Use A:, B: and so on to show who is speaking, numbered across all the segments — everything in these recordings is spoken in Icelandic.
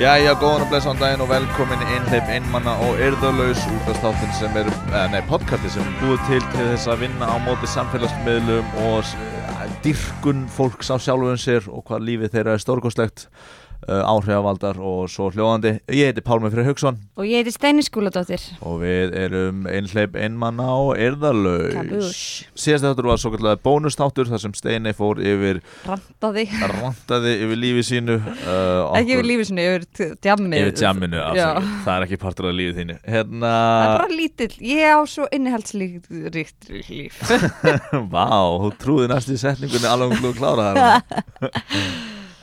A: Jæja, góðan og blessaðan daginn og velkomin í einhleip einmanna og yrðalaus útastáttin sem er, eða nei, podcasti sem er búið til til þess að vinna á móti samfélagsmiðlum og eh, dýrkun fólks á sjálfum sér og hvað lífið þeirra er stórkoslegt, uh, áhrifavaldar og svo hljóðandi. Ég heiti Pálmi Freyr Haugsson
B: Og ég heiti Steini Skúladóttir
A: og við erum einhleip einmanna og yrðalaus.
B: Kabús
A: Síðast þáttur var svo kallega bónustáttur þar sem Steini fór yfir,
B: Randaði
A: rantaði yfir lífið sínu. Uh,
B: Ekki yfir lífi sinni, yfir t- djamminu
A: yfir jamminu afsakið.
B: Eh, Já.
A: það er ekki partur af lífið þínu hérna,
B: Það er bara lítill, ég á svo innihaldsríkt ríkt líf
A: vá, þú trúði næst í setningunni alveg hún klára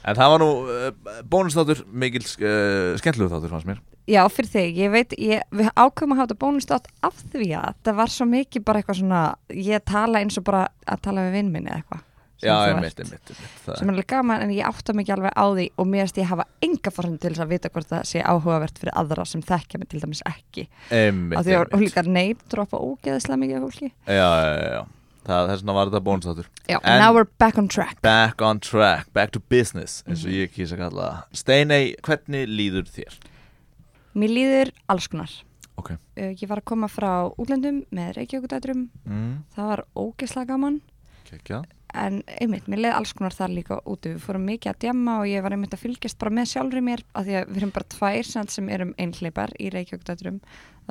A: það en það var nú uh, bónustátur, mikil uh, skemmtlegu þáttur fannst mér
B: Já, fyrir þig, ég veit, ég, við ákveðum að hafa þetta bónustátt af því að það var svo mikið bara eitthvað svona Ég tala eins og bara að tala við vinn minni eða eitthvað sem
A: já,
B: þú ert.
A: einmitt, einmitt, einmitt það
B: Sem er alveg gaman en ég átta mikið alveg á því og mér erst ég hafa enga forðin til þess að vita hvort það sé áhugavert fyrir aðra sem þekkja mig til dæmis ekki Af
A: einmitt,
B: því að hún
A: einmitt.
B: líka neip droppa ógeðislega mikið af fólki
A: Já, já, já, já. Það, þess vegna var þetta bónustátur
B: Já,
A: En-
B: now we're back on track
A: back on track, back to business eins
B: Mhm.
A: og ég kýsa að kalla það Steinei, hvernig líður þér?
B: Mér líður alls konar.
A: ok
B: Uh, Ég var að koma frá útlendum með reykjaukudætrum,
A: mm,
B: það var ógeðslega gaman,
A: kekja
B: en einmitt, mér leið alls konar þar líka úti. Við fórum mikið að djamma og ég var einmitt að fylgjast bara með sjálfri mér, af því að við erum bara tvær samt sem erum einhleipar í reykjaukudætrum.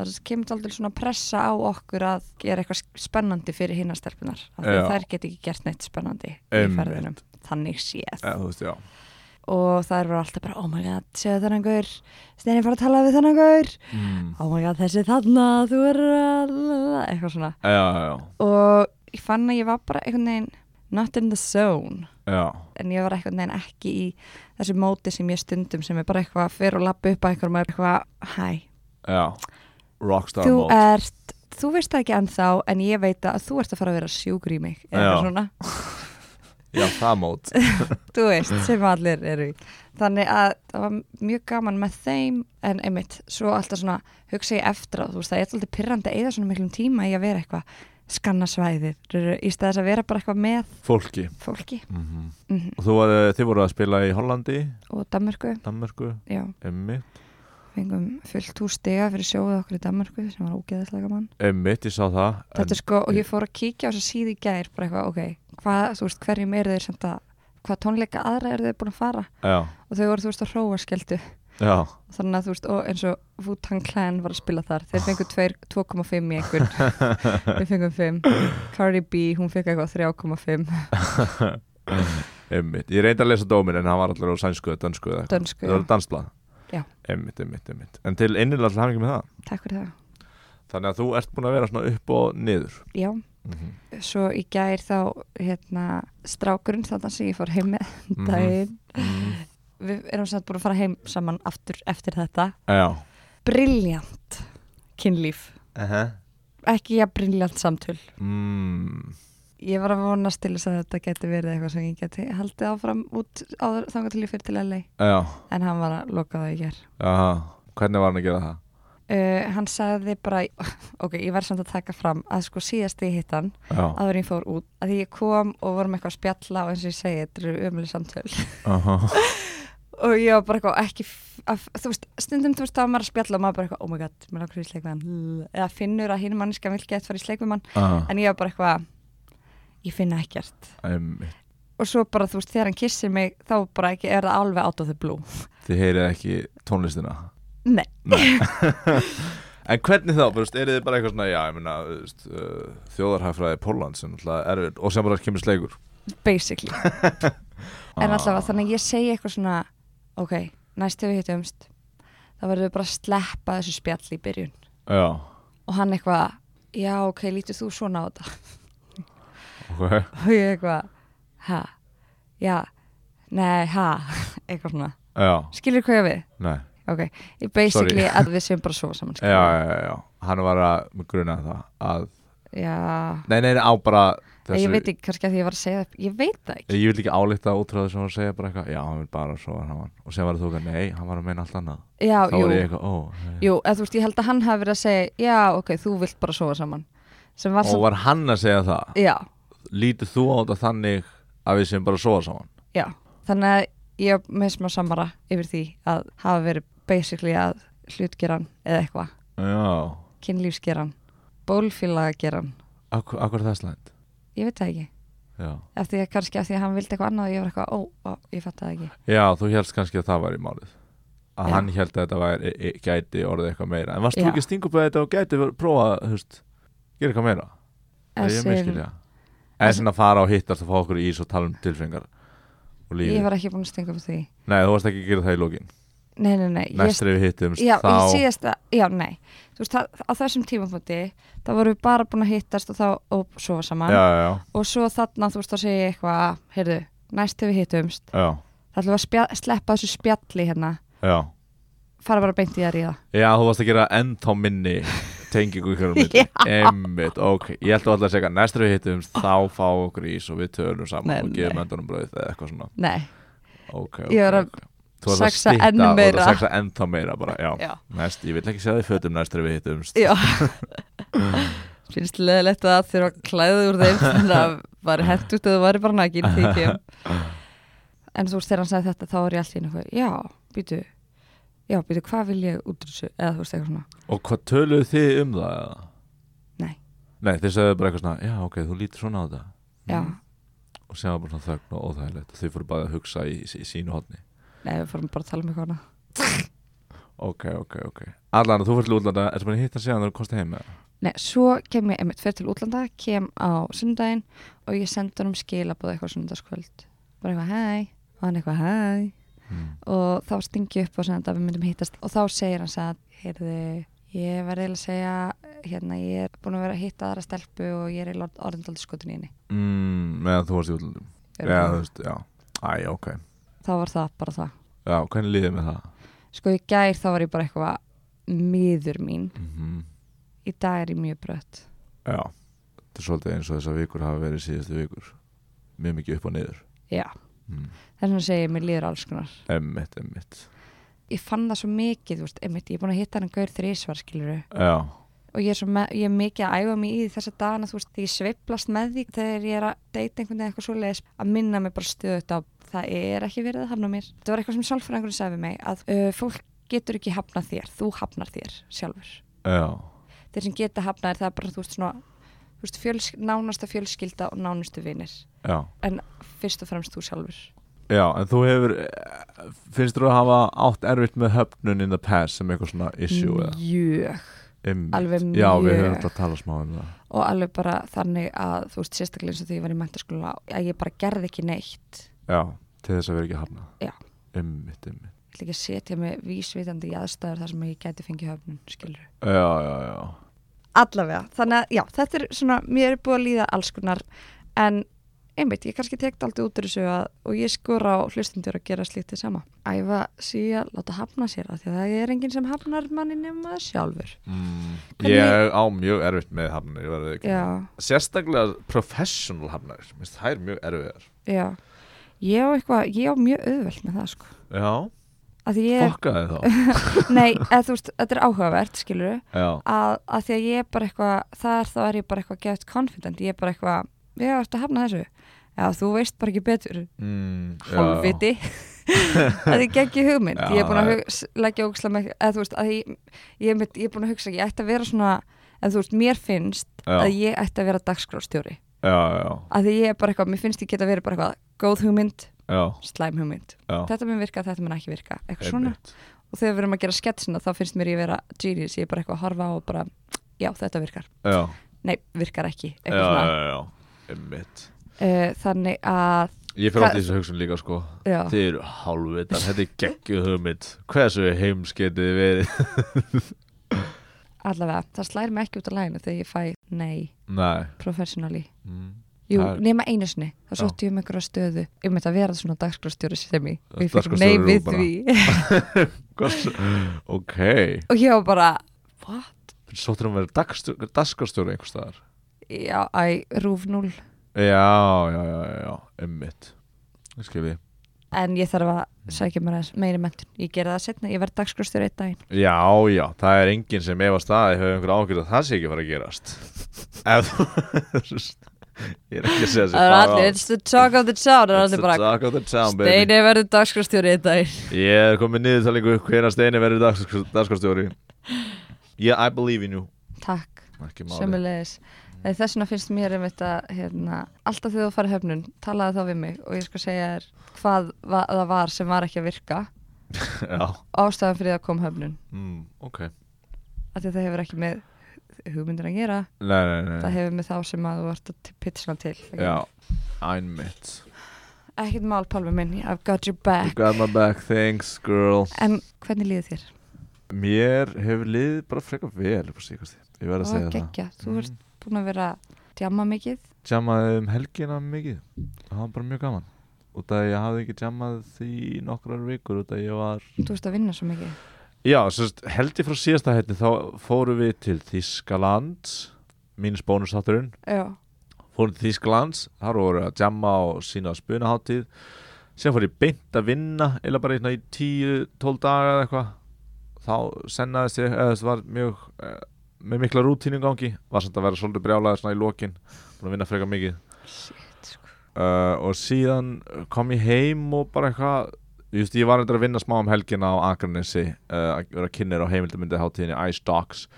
B: Það kemur aldrei svona pressa á okkur að gera eitthvað spennandi fyrir hinna stelpunar, af því
A: Já.
B: að þær get ekki gert neitt spennandi
A: Einmitt.
B: í ferðinum. Þannig séð.
A: Eh, þú veist, já
B: Og það eru alltaf bara, oh my god, séu þennan gaur, Steini fór að tala við þennan gaur,
A: mm,
B: oh my god, þessi þarna, þú er að, eitthvað svona.
A: já, já,
B: Og ég fann að ég var bara einhvern veginn not in the zone,
A: já, já.
B: en ég var einhvern veginn ekki í þessu móti sem ég stundum sem er bara eitthvað að fyrir og lappa upp að einhverjum og er eitthvað, hæ,
A: Já, rockstar
B: þú
A: mode
B: ert, þú veist það ekki ennþá, en ég veit að þú ert að fara að vera sjúkur í mig,
A: Já.
B: eða eitthvað svona. eh,
A: Já, það mót
B: þú veist, sem allir eru í þannig að það var mjög gaman með þeim en einmitt, svo alltaf svona hugsa ég eftir á, þú veist, það er alltaf pyrrandi að eyða svona miklum tíma í að vera eitthvað skanna svæðið, rr, í stæðis að vera bara eitthvað með
A: Fólki
B: fólki Mhm.
A: Og þú var, þið voru að spila í Hollandi,
B: og Danmörku,
A: Danmörku,
B: já,
A: Emmitt
B: fengum fullt hús stiga fyrir sjóðu okkur í Danmörku sem var ógeðislega gaman
A: Emmitt, ég sá það
B: þetta er sko, og ég fór að kíkja á þess að síði í gær, bara eitthvað, ok, hvað, þú veist, hverjum eru þeir samt að, hvað tónleika aðra eru þeir búin að fara
A: Já,
B: og þau voru, þú veist, að hróa skeldu
A: já,
B: þannig að þú veist, og eins og Wu-Tang Clan var að spila þar, þeir fengu tveir- 2,5 í einhvern, við fengum 5 Cardi B, hún fekk eitthvað 3,5
A: Emmitt Ég reyndi að lesa dómin en hann var allir á sænsku eða dönsku eða eitthvað.
B: dönsku,
A: Það var dansblað
B: Já.
A: Emmitt, Emmitt, Emmitt En til innilega til hafingi með það
B: takk fyrir það
A: Þannig að þú ert búin að vera svona upp og niður
B: já,
A: mm -hmm.
B: svo í gær þá hérna, strákurinn þannig sem ég fór heim með
A: Mhm.
B: daginn við erum samt búin að fara heim saman aftur eftir þetta,
A: Já
B: briljant kynlíf,
A: uh -huh.
B: ekki ja briljant samtöl
A: mm.
B: Ég var að vonast til þess að þetta geti verið eitthvað sem ég geti haldið áfram út áður þangar til ég fyrir til LA
A: Já,
B: en hann var að loka það í ger
A: já, hvernig var hann að gera það?
B: uh, hann sagði bara ok, ég verð samt að taka fram að sko síðast ég hitt hann
A: Já,
B: áður en ég fór út að því ég kom og vorum eitthvað að spjalla og eins og ég segi, þetta eru ömuleg samtöl
A: aha
B: og ég var bara eitthvað ekki f- að, þú veist, stundum þú veist þá var maður að spjalla og maður bara eitthvað, oh my god, mér langar í sleik við hann eða finnur að hinn manniska vil gett fara í sleik við mann
A: Aha,
B: en ég var bara eitthvað, ég finna ekkert
A: Emmitt
B: og svo bara, þú veist, þegar hann kissir mig þá bara ekki, er það alveg out of the blue
A: Þið heyrið ekki tónlistina
B: Nei.
A: En hvernig þá, þú veist, er þið bara eitthvað svona, já, ég meina, þú veist, uh, þjóðarhagfræði Pólland sem alltaf er erfið og sem bara kemur sleikur.
B: basically en allavega þannig að ég segi eitthvað svona ok, næst þegar við hittumst þá verður við bara að sleppa þessu spjall í byrjun
A: Já,
B: og hann eitthvað, já ok, lítur þú svona á þetta
A: ok,
B: og ég eitthvað, ha já, nei, ha eitthvað svona,
A: já,
B: skilur hvað ég á við
A: nei,
B: ok, ég basically að við séum bara að sofa saman
A: já, já, já, já, hann var að, mig grunaði það, að,
B: já, já.
A: nei, nei, á bara þessu,
B: ég veit ekki kannski að því ég var að segja það ég veit það ekki,
A: Ég vil ekki álíta útráðu sem var að segja bara eitthvað, já, hann vil bara svo, hann var, og sem var að þú eitthvað, nei, hann var að meina allt annað.
B: já,
A: Þá
B: jú
A: var ég eitthvað, ó, nei.
B: jú, eða þú veist, ég held að hann hafi verið að segja já, ok, þú vilt bara sofa saman sem var
A: og
B: samt,
A: var hann að segja það,
B: já
A: lítið þú á þetta þannig að við sem bara að sofa saman?
B: Já, þannig að ég er með smá samara yfir því að hafa verið basically að hlutgeran eða eitthvað,
A: Já,
B: kynlífsgeran bólfélagageran,
A: akkur, akkur það slæmt
B: ég veit það ekki
A: Já.
B: af því að kannski af því að hann vildi eitthvað annað og ég var eitthvað, ó, ó ég fatt það ekki
A: Já, þú helst kannski að það var í málið að
B: Já.
A: hann held að þetta var, e, e, gæti orðið eitthvað meira en varst þú
B: Já.
A: ekki að stinga upp að þetta og gæti verið- prófa hufst, gera eitthvað meira er ég meðskilja eða
B: þessi-
A: svona að fara og hittast og fá okkur ís og tala um tilfengar og lífið
B: ég var ekki búin að stinga upp á því
A: Nei, þú varst ekki að gera það í lókin
B: nei, nei, nei, ég
A: Næstur við hittumst
B: já,
A: þá
B: í síðasta, já, nei þú veist, það, á þessum tímapunkti þá vorum við bara búin að hittast og þá og sofa
A: Já,
B: saman
A: já, já,
B: og svo þarna, þú veist, þá segi ég eitthvað heyrðu, næst þegar við hittumst
A: já,
B: þá ætlum við að spja, sleppa þessu spjalli hérna
A: já.
B: fara bara beint í að ríða
A: Já, þú varst að gera ennþá minni tengingu ykkur um
B: Já.
A: þetta Emmitt, ok, ég held að alltaf að segja Næstur við hittumst, þá fá okkur ís og við tölum saman
B: Nei,
A: og
B: nei.
A: gefum endunum brauð eða eitthvað svona
B: nei,
A: okay,
B: Ég var að
A: okay, okay. Þú varst að
B: saxa
A: stytta-
B: enn
A: þú varst að
B: meira.
A: Saxa ennþá meira bara, já,
B: Já.
A: Næst, Ég vil ekki segja því fötum næstur við hittumst
B: já finnst leðilegt að þurfa að klæða úr þeim þannig að var hent út að það var bara nægin því ekki en þú veist, þegar hann sagði þetta þá var ég allir eitthvað, já, býtu já, býtu, hvað vil ég út úr þessu eða þú veist, eitthvað svona
A: Og hvað töluðu þið um það? eða?
B: Nei.
A: Nei, þið sagðu bara eitthvað svona Já, ok, þú lítur svona á þetta
B: já,
A: Mm. Og sem var bara svona þögn og óþægilegt Þið fóru bara að hugsa í, í, í sínu hotni
B: nei, við fórum bara að tala um eitthvað annað.
A: Ok, ok, ok Allan, þú fyrir útlanda, ertu bara að hitta síðan þegar þú komst heim eða?
B: nei, svo kem ég einmitt fyrir til útlanda kem á sundaginn og ég sendi hann um skilabóð eitthvað sundagskvöld bara eitthvað, hæ, og hann eitthvað, hæ Hmm.
A: Mm.
B: og þá stingi ég upp og sem að við myndum hittast og þá segir hann að heyrðu, ég verði eiginlega að segja hérna, ég er búin að vera að hitta aðra stelpu og ég er eiginlega orðindaldi skotin í henni
A: Mm, meðan þú varst í útlandum Já, þú veist, já Æ, ok
B: þá var það bara það
A: Já, hvernig líðið með það?
B: sko í gær þá var ég bara eitthvað miður mín,
A: Mm
B: í dag er ég mjög brött
A: Já, þetta er svolítið eins og þessar vikur hafa verið síðustu vikur Mjög mikið upp og niður
B: já,
A: mm.
B: þess vegna segir ég mér líður alls konar
A: Emmitt, emmitt
B: ég fann það svo mikið, þú veist, einmitt, ég er búin að hitta hann gaur þrísvar, skiluru,
A: Já,
B: og ég er, svo með, ég er mikið að æfa mig í því þessa dagana, þú veist, þegar ég sveiplast með því þegar ég er að deyta einhvern veginn eitthvað svoleiðis að minna mig bara stöðut á það er ekki verið að hafna mér. Þetta var eitthvað sem sálfræðingurinn sagði við mig að uh, fólk getur ekki hafnað þér, þú hafnar þér sjálfur.
A: já,
B: Þeir sem geta hafnað þér það er bara, þú veist, svona, þú veist, fjöls, nánasta fjölskylda og nánustu vinir,
A: já
B: en fyrst og fremst þú sjálfur.
A: Já, en þú hefur eh, finnst þú að hafa átt erfitt með höfnun in the past sem eitthvað svona issue eða
B: Mjög.
A: Einmitt.
B: Mm. alveg
A: Já, við
B: mjög.
A: höfum þetta að tala smá um það
B: Og alveg bara þannig að, þú veist, sérstaklega eins og því ég var í mentaskóla, að ég bara gerði ekki neitt.
A: Já, til þess að vera ekki að hafna
B: Já.
A: Einmitt, einmitt
B: ég ætla ekki að setja mig vísvitandi í aðstæður þar sem ég gæti fengið höfnun, skilur.
A: Já, já, já
B: Allavega, þannig að já, þetta er svona, mér er búið að líða alls konar, en einmitt, ég kannski tekt aldrei út úr þessu að, og ég skora á hlustundur að gera slítið sama. Æfa síðan, láta hafna sér að því að það er enginn sem hafnar manni nema það sjálfur.
A: mm.
B: Hvernig-
A: Ég er á mjög erfitt með hafnir, ég verði ekki
B: Já,
A: Sérstaklega professional hafnir, minnst það er mjög erfiðar
B: já. Ég á eitthvað, ég á mjög auðvelt með það, sko.
A: Já,
B: Að því ég,
A: fokkaði þá
B: nei, eða þú veist, þetta er áhugavert, skilur
A: Já,
B: að, að því að ég er bara eitthvað þar þá er ég bara eitthvað get confident ég er bara eitthvað, já, ertu að hafna þessu já, þú veist bara ekki betur
A: mm, já, já.
B: hálfviti að því geggi hugmynd
A: Já,
B: ég er búin
A: já.
B: að hug, leggja ógislega með eða þú veist, að ég, ég, er mitt, ég er búin að hugsa ég ætti að vera svona, eða þú veist, mér finnst
A: Já.
B: að ég ætti að vera dagskrástjóri
A: Já, já,
B: að því ég er bara eitthvað, mér finnst ég geta verið bara eitthvað góð hugmynd,
A: já,
B: slæm hugmynd
A: já
B: þetta mun virka, þetta mun ekki virka, eitthvað svona
A: Einmitt.
B: og þegar við erum að gera sketsina þá finnst mér ég vera genius, ég er bara eitthvað að horfa á og bara, já, þetta virkar
A: Já,
B: nei, virkar ekki
A: já,
B: eitthvað svona.
A: já, já, einmitt
B: Uh, þannig að
A: Ég fyrir
B: Hvað-
A: átt í þessu hugsun líka sko
B: já,
A: Þið eru hálfvitar, þetta er geggjuð hugmynd Hversu heims getið þið verið?
B: allavega, það slær mig ekki út af læginu þegar ég fæ nei,
A: Nei
B: professionally
A: mm.
B: Jú,
A: Það er-
B: nema einu sinni, þá
A: Já.
B: sótti ég um einhverja stöðu um þetta að vera svona dagskrastjóri sem ég og ég fikk nei
A: Dagskrárstjóri
B: við
A: Rúbana.
B: því
A: Hversu? Ok
B: og ég var bara, what?
A: Sóttir um að vera dagskastjóri einhvers staðar
B: Já, æ, rúf 0
A: Já, já, já, já, einmitt Það skil ég
B: en ég þarf að sækja mér aðeins meiri mentun ég gera það setna, ég verð dagskrastjóri einn daginn
A: Já, já, það er enginn sem efast að þið hefur einhver ágjörð að það sé ekki að fara að gerast Ef þú Ég er ekki að segja þessi
B: Það er allir, it's the talk of the town Það er allir bara,
A: Talk of the town, baby
B: Steini verður dagskrastjóri í dag
A: Ég er komið niður talingu Hvena steini verður dagskarstjóri Yeah, I believe in you
B: Takk,
A: Ekki máli Mm.
B: sömulegis Þess vegna finnst mér einmitt að hérna, alltaf þegar þú farið höfnun, talaði þá við mig og ég skal segja þér hvað va það var sem var ekki að virka
A: Já,
B: ástæðan fyrir það kom höfnun
A: mm, ok
B: af því að það hefur ekki með hugmyndir að gera
A: Nei, nei, nei
B: það hefur með þá sem að þú vart að pitcha til
A: Já, I'm it
B: ekkert mál Pálmi minn, I've got your back
A: You got my back, thanks girl
B: en hvernig líður þér?
A: Mér hefur liðið bara frekar vel upp á síkast Ég verð að
B: Það var
A: segja það Mm.
B: geggja, þú ert búin að vera að djamma mikið
A: Jammaði um helgina mikið Það var bara mjög gaman Út af að ég hafði ekki jammað í nokkrar vikur Út af að ég var
B: þú ert að vinna svo mikið
A: Já, sérst, held ég frá síðasta hætti þá fórum við til Þískaland mínus bónusátturinn
B: Já,
A: fórum til Þískaland, þar voru að jamma og sína á spunaháttíð síðan fór ég beint að vinna eða bara hérna í 10-12 daga eða eitthvað þá sennaðist ég eða þess var mjög eh, með mikla rútínu í gangi, var samt að vera svolítið brjálaður svona í lokin, búin að vinna frekar mikið
B: shit sko.
A: uh, og síðan kom ég heim og bara eitthvað Just, ég var endur að vinna smá um helgina á Akranesi uh, að vera kynner á heimildamundið hátíðinni Ice Dogs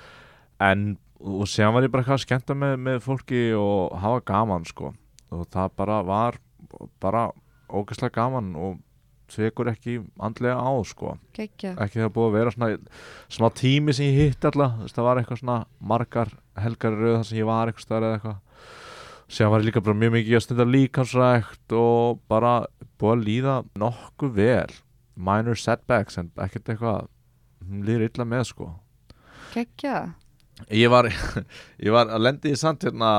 A: en og síðan var ég bara eitthvað að skemmta með, með fólki og hafa gaman sko og það bara var bara ógæslega gaman og svekur ekki andlega á sko
B: geggja
A: ekki það búið að vera svona smá tími sem ég hitt alla Þú veist, það var eitthvað svona margar helgar rauð þar sem ég var eitthvað stærð eða eitthvað síðan var ég líka bara mjög mikið að stunda líkansrækt og bara búið að líða nokkuð vel minor setbacks en ekkert eitthvað hún líður illa með sko
B: geggja,
A: ég var, ég var að lendi í sand hérna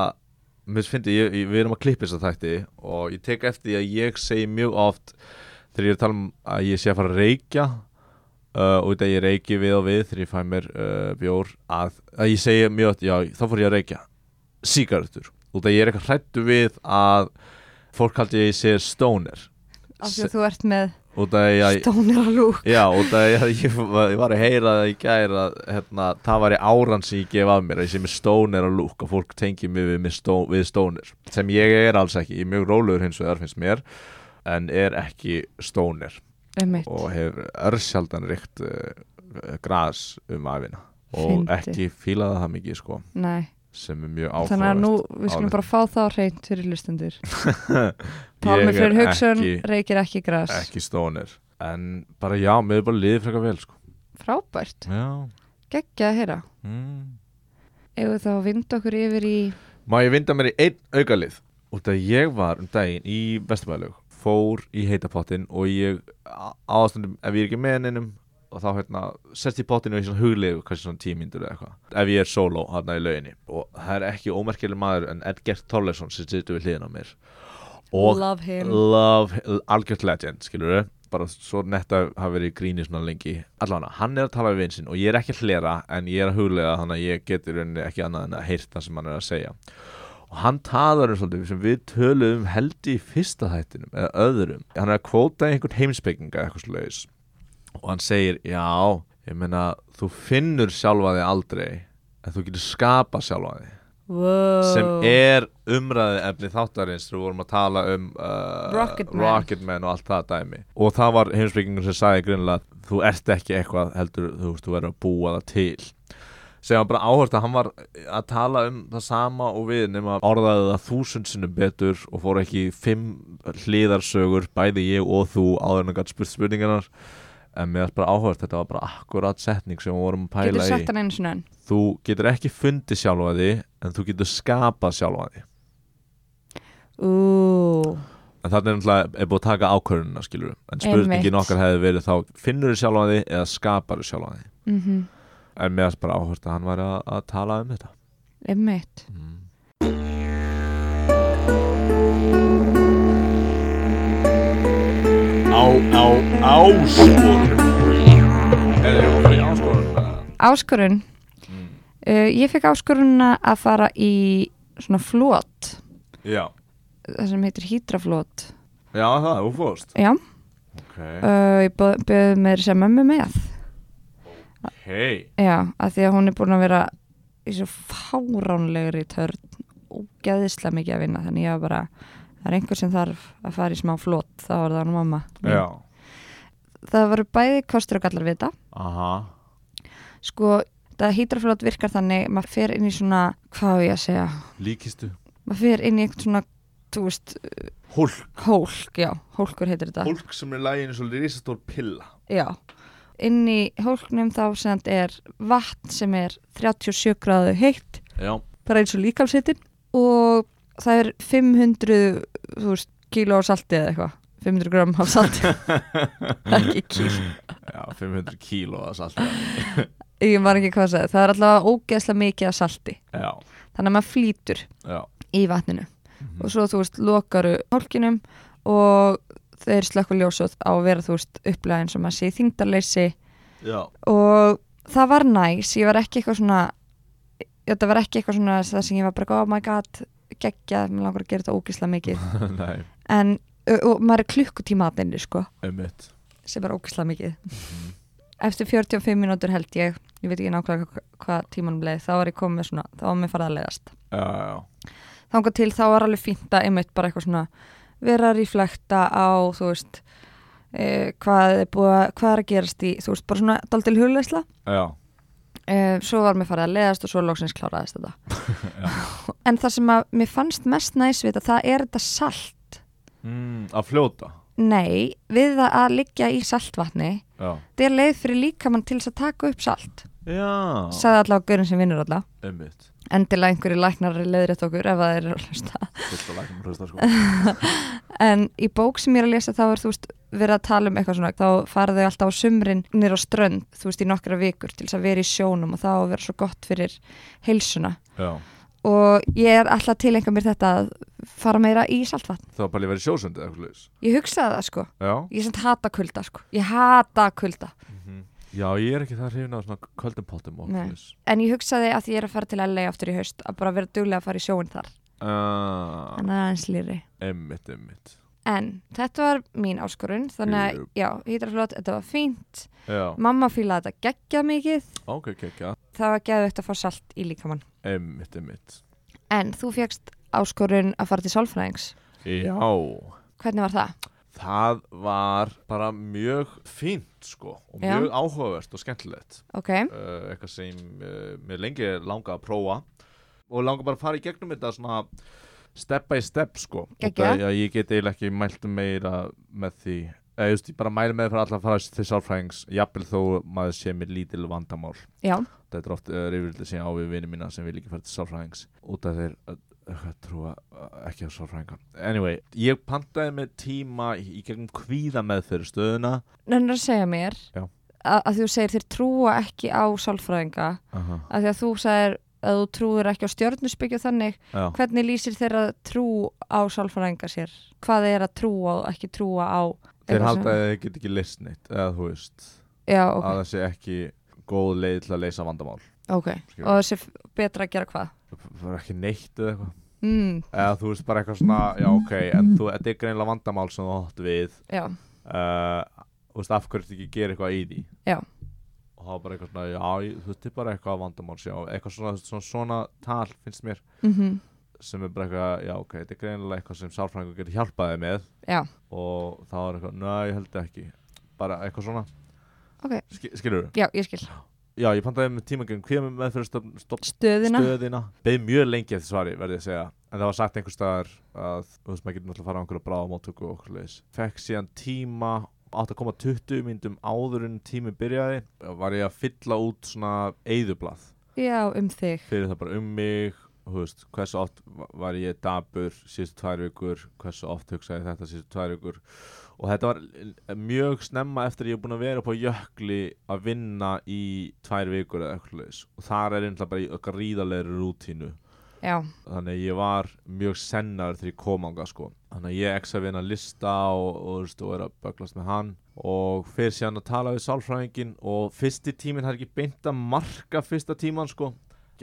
A: mér finnst ég, ég, við erum að klippa þess að þætti og ég tek eftir því að ég segi mjög oft þegar ég er að tala um að ég sé að fara að reykja uh, og þetta ég reyki við og við þegar ég fæ mér uh, bjór að, að ég segi mjög oft, já þá fór ég að reykja sígarettur og þetta ég er eitthvað hrættu við að fólk haldi að ég sé stoner
B: af því að þú ert með
A: og þetta ég
B: stónir að lúk
A: Já, og það er að ég, var- ég var að heyra það í gæri að hérna, það var í áran sem ég gef af mér að ég sé með stónir að lúk og fólk tengi mig við, með stó, við stónir sem ég er alls ekki, ég er mjög rólegur hins vegar finnst mér en er ekki stónir og hefur örsjaldan ríkt uh, gras um afina og
B: Fyndið.
A: ekki fílaði það mikið sko
B: Nei,
A: sem er mjög
B: þannig að nú
A: áhugavert
B: við skulum
A: álit.
B: bara fá það á hreint fyrir lustendur
A: Ég
B: Pálmi
A: er
B: Freyr Hauksson
A: ekki,
B: reykir ekki gras
A: ekki stónir en bara já, mér er bara liðið frekar vel sko
B: frábært,
A: Já,
B: geggja að heyra
A: mm.
B: Ef þá vind okkur yfir í
A: Má ég vinda mér í einn aukalið? Út að ég var um daginn í Vesturbæðalög Fór í heitapottin og ég ástundum ef ég er ekki með henninum og þá hérna sest ég pottinu í svona huglegu kannski svona tímindur eða eitthvað ef ég er solo hérna í lauginni og það er ekki ómerkileg maður en Edgert Þorleifsson sem situr við hliðin á mér og
B: Love Him
A: Love, algjört legend, skilur við bara svo netta hafa verið í gríni svona lengi allan, hann er að tala við vinsinn og ég er ekki að hlera en ég er að huglega þannig að ég getur ekki annað en að heyrta sem hann er að segja og hann talar um svolítið sem við töluðum held í fyrsta þættinum eða öðrum, hann er að kvóta einhvern heimspekinga eitthvað slags og hann segir, já, ég meina þú finnur sjálfa þig aldrei en þú getur skapa sjálfa þig
B: wow.
A: sem er umræði efni þáttarins þegar við vorum að tala um uh,
B: Rocketman.
A: Rocketman og allt það dæmi og það var heimsbyggingur sem sagði grunlega þú ert ekki eitthvað heldur þú veist þú verður að búa það til sem var bara áhört að hann var að tala um það sama og við nema orðaði það þúsund sinnum betur og fór ekki í fimm hliðarsögur bæði ég og þú áður en hann gætt spurt spurningarnar en mér er bara áhört þetta var bara akkurat setning sem við vorum að pæla
B: Getur
A: í
B: sagt hann einu svona enn
A: þú getur ekki fundið sjálfa því en þú getur skapað sjálfa því
B: Ú,
A: en þarna er náttúrulega er búið að taka ákvörðunina skilur en
B: Einmitt.
A: spurningin okkar hefði verið þá finnur þú sjálfa því eða skapar þú sjálfa því
B: mhm
A: en mér er bara áhört að hann var að, að tala um þetta
B: Einmitt.
A: Mm. á, á, áskorun er það okkur í áskorun
B: Áskorun.
A: Mm.
B: Uh, ég fekk áskorunna að fara í svona flót,
A: já,
B: það sem heitir hýdraflót.
A: já það, þú fórst
B: Já,
A: ok,
B: uh, ég byrði mér sem mömmu með.
A: hei
B: Já, af því að hún er búin að vera í svo fáránlegri törn ógeðislega mikið að vinna þannig ég var bara, það er einhver sem þarf að fara í smá flott, þá var það nú mamma mín.
A: já,
B: það voru bæði kostur og gallar við þetta
A: aha
B: sko, það hýtraflót virkar þannig maður fer inn í svona, hvað á ég að segja
A: líkistu,
B: maður fer inn í einhvern svona, þú veist
A: hólk
B: hólk, já, hólkur heitir þetta
A: hólk sem er læginu svo risastór pilla
B: já, inn í hólknum þá sem sagt er vatn sem er 37 gráðu heitt
A: já,
B: bara eins og líkamshittin og það er 500 þú veist, kíló af salti eða eitthvað 500 gram af salti ekki kíló,
A: já 500 kíló að salta
B: ég var ekki hvað að segja það er allavega ógeðslega mikið af salti
A: já,
B: þannig að maður flýtur
A: já,
B: í vatninu og svo þú veist, lokaru hálkinum og þeir slökku ljósot á að vera þú veist upplega eins og maður sé í þingdarleysi
A: já
B: og það var næs, ég var ekki eitthvað svona þetta var ekki eitthvað svona það sem ég var bara, oh my god, geggjað mér langar að gera þetta ógeðslega mikið
A: nei,
B: en og, og maður er klukkutíma að þenni sko,
A: ummitt
B: sem er ógislega mikið eftir 45 mínútur held ég ég veit ekki nákvæmlega hva- hvað tímanum leið þá var ég komið með svona, þá var mér farið að leiðast
A: já, já,
B: þangað til þá var alveg fínt að einmitt bara eitthvað svona vera að reflekta á þú veist eh, hvað, er búið, að- hvað er að gerast í þú veist, bara svona daldil hugleisla
A: já,
B: eh, svo var mér farið að leiðast og svo loksins kláraðist þetta en það sem að mér fannst mest næs við þetta það er þetta salt
A: mm, að fljóta
B: nei, við það að liggja í saltvatni
A: já,
B: þetta er leið fyrir líkamann til þess að taka upp salt
A: já,
B: sagði allavega gaurinn sem vinnur alla
A: ummitt
B: endilega einhverju læknar leiðrétt okkur ef það er að hlusta
A: fullt að læknum hlusta sko
B: en í bók sem ég er að lesa þá er þú veist verið að tala um eitthvað svona þá fara þau alltaf á sumrin nýr á strönd þú veist í nokkra vikur til þess að vera í sjónum og þá að vera svo gott fyrir heilsuna
A: já,
B: og ég er alltaf til einhver mér þetta að fara meira í saltvatn
A: það var bara lífið að vera sjósundi eða eitthvað
B: ég hugsaði það sko
A: já,
B: ég sem hata kulda sko ég hata kulda
A: já, ég er ekki það hrifin af svona kvöldum pottum og
B: Nei.
A: svoleiðis.
B: en ég hugsaði að því ég er að fara til LA aftur í haust að bara vera duglega að fara í sjóin þar
A: Ah,
B: en það er aðeins lýri
A: einmitt, einmitt
B: En þetta var mín áskorun, þannig að,
A: Jú.
B: já, hýtraflót, þetta var fínt.
A: Já,
B: Mamma fílaði þetta geggja mikið,
A: ok, ok, ok
B: það var geðveikt að fá salt í líkamann.
A: Einmitt, einmitt
B: En þú fegst áskorun að fara til sálfræðings.
A: Já,
B: Hvernig var það?
A: það var bara mjög fínt sko og
B: Já.
A: mjög áhugavert og skemmtilegt
B: Ok,
A: uh, eitthvað sem uh, mér lengi langa að prófa og langa bara að fara í gegnum þetta svona step by step sko
B: Geggjað.
A: að ég get eiginlega ekki mælt meira með því eða just ég bara mæli með því fyrir alla að fara til sálfræðings jafnvel þó maður sé með lítil vandamál
B: já,
A: þetta er oft uh, reyfrildi sem ég á við vinið mína sem vil ekki fara til sálfræðings út af þeir uh, uh, trúa uh, ekki á sálfræðinga anyway, ég pantaði með tíma í í gegnum kvíða með fyrir stöðuna
B: nennir að segja mér
A: Já.
B: að, að þú segir þeir trúa ekki á sálfræðinga,
A: Aha,
B: að því að þú segir að þú trúir ekki á stjörnusbyggju þannig,
A: já,
B: hvernig lýsir þeirra trú á sálfræðinga sér? Hvað er að trúa og ekki trúa á?
A: þeir
B: eitthvað sem-
A: halda að þeir get ekki list neitt eða þú veist
B: Já,
A: að
B: ok,
A: það sé ekki góð leið til að leysa vandamál
B: ok.
A: skilur.
B: Og þessi betra að gera hvað?
A: það er ekki neitt eða eitthvað
B: Mm,
A: eða þú veist bara eitthvað svona, já ok en þú, þetta er greinilega vandamál sem þú átt við
B: já,
A: uh, þú veist af hverju ertu ekki að gera eitthvað í því
B: Já.
A: og það var bara eitthvað svona, já ég- þú veist, þetta er bara eitthvað vandamál sjá, eitthvað svona, svona, svona tal finnst mér
B: mhm,
A: sem er bara eitthvað, já ok, þetta er greinilega eitthvað sem sálfræðingur getur hjálpaði með
B: já,
A: og það var eitthvað, næ, ég held ekki bara eitthvað svona,
B: ok,
A: Ski, skilur
B: já, ég skil.
A: já, ég pantaði með tíma gegn kvíða með fyrir stofn
B: Stöðina,
A: stöðina beð mjög lengi eftir svari verði ég að segja en það var sagt einhver staðar að þú veist maður getur náttúrulega að fara á einhverju bráða móttöku og okkur leis fekk síðan tíma átt að koma 20 myndum áður en tími byrjaði var ég að fylla út svona eyðublað
B: já, um þig,
A: fyrir það bara um mig þú veist, hversu oft va- var ég dabur síðustu tvær vikur, hversu oft hugsaði ég þetta síðustu tvær vikur og þetta var l- mjög snemma eftir að ég er búin að vera upp á jökli að vinna í tvær vikur eða eitthvað leis og þar er einhverja bara í okkar ríðalegri rútínu
B: já,
A: þannig að ég var mjög sennar þegar ég kom ánga sko þannig að ég eksa við hennar lista og, og, og, og er að böglast með hann og fyrir síðan að tala við sálfræðingin og fyrsti tíminn það er ekki beint að marka fyrsta tíman sko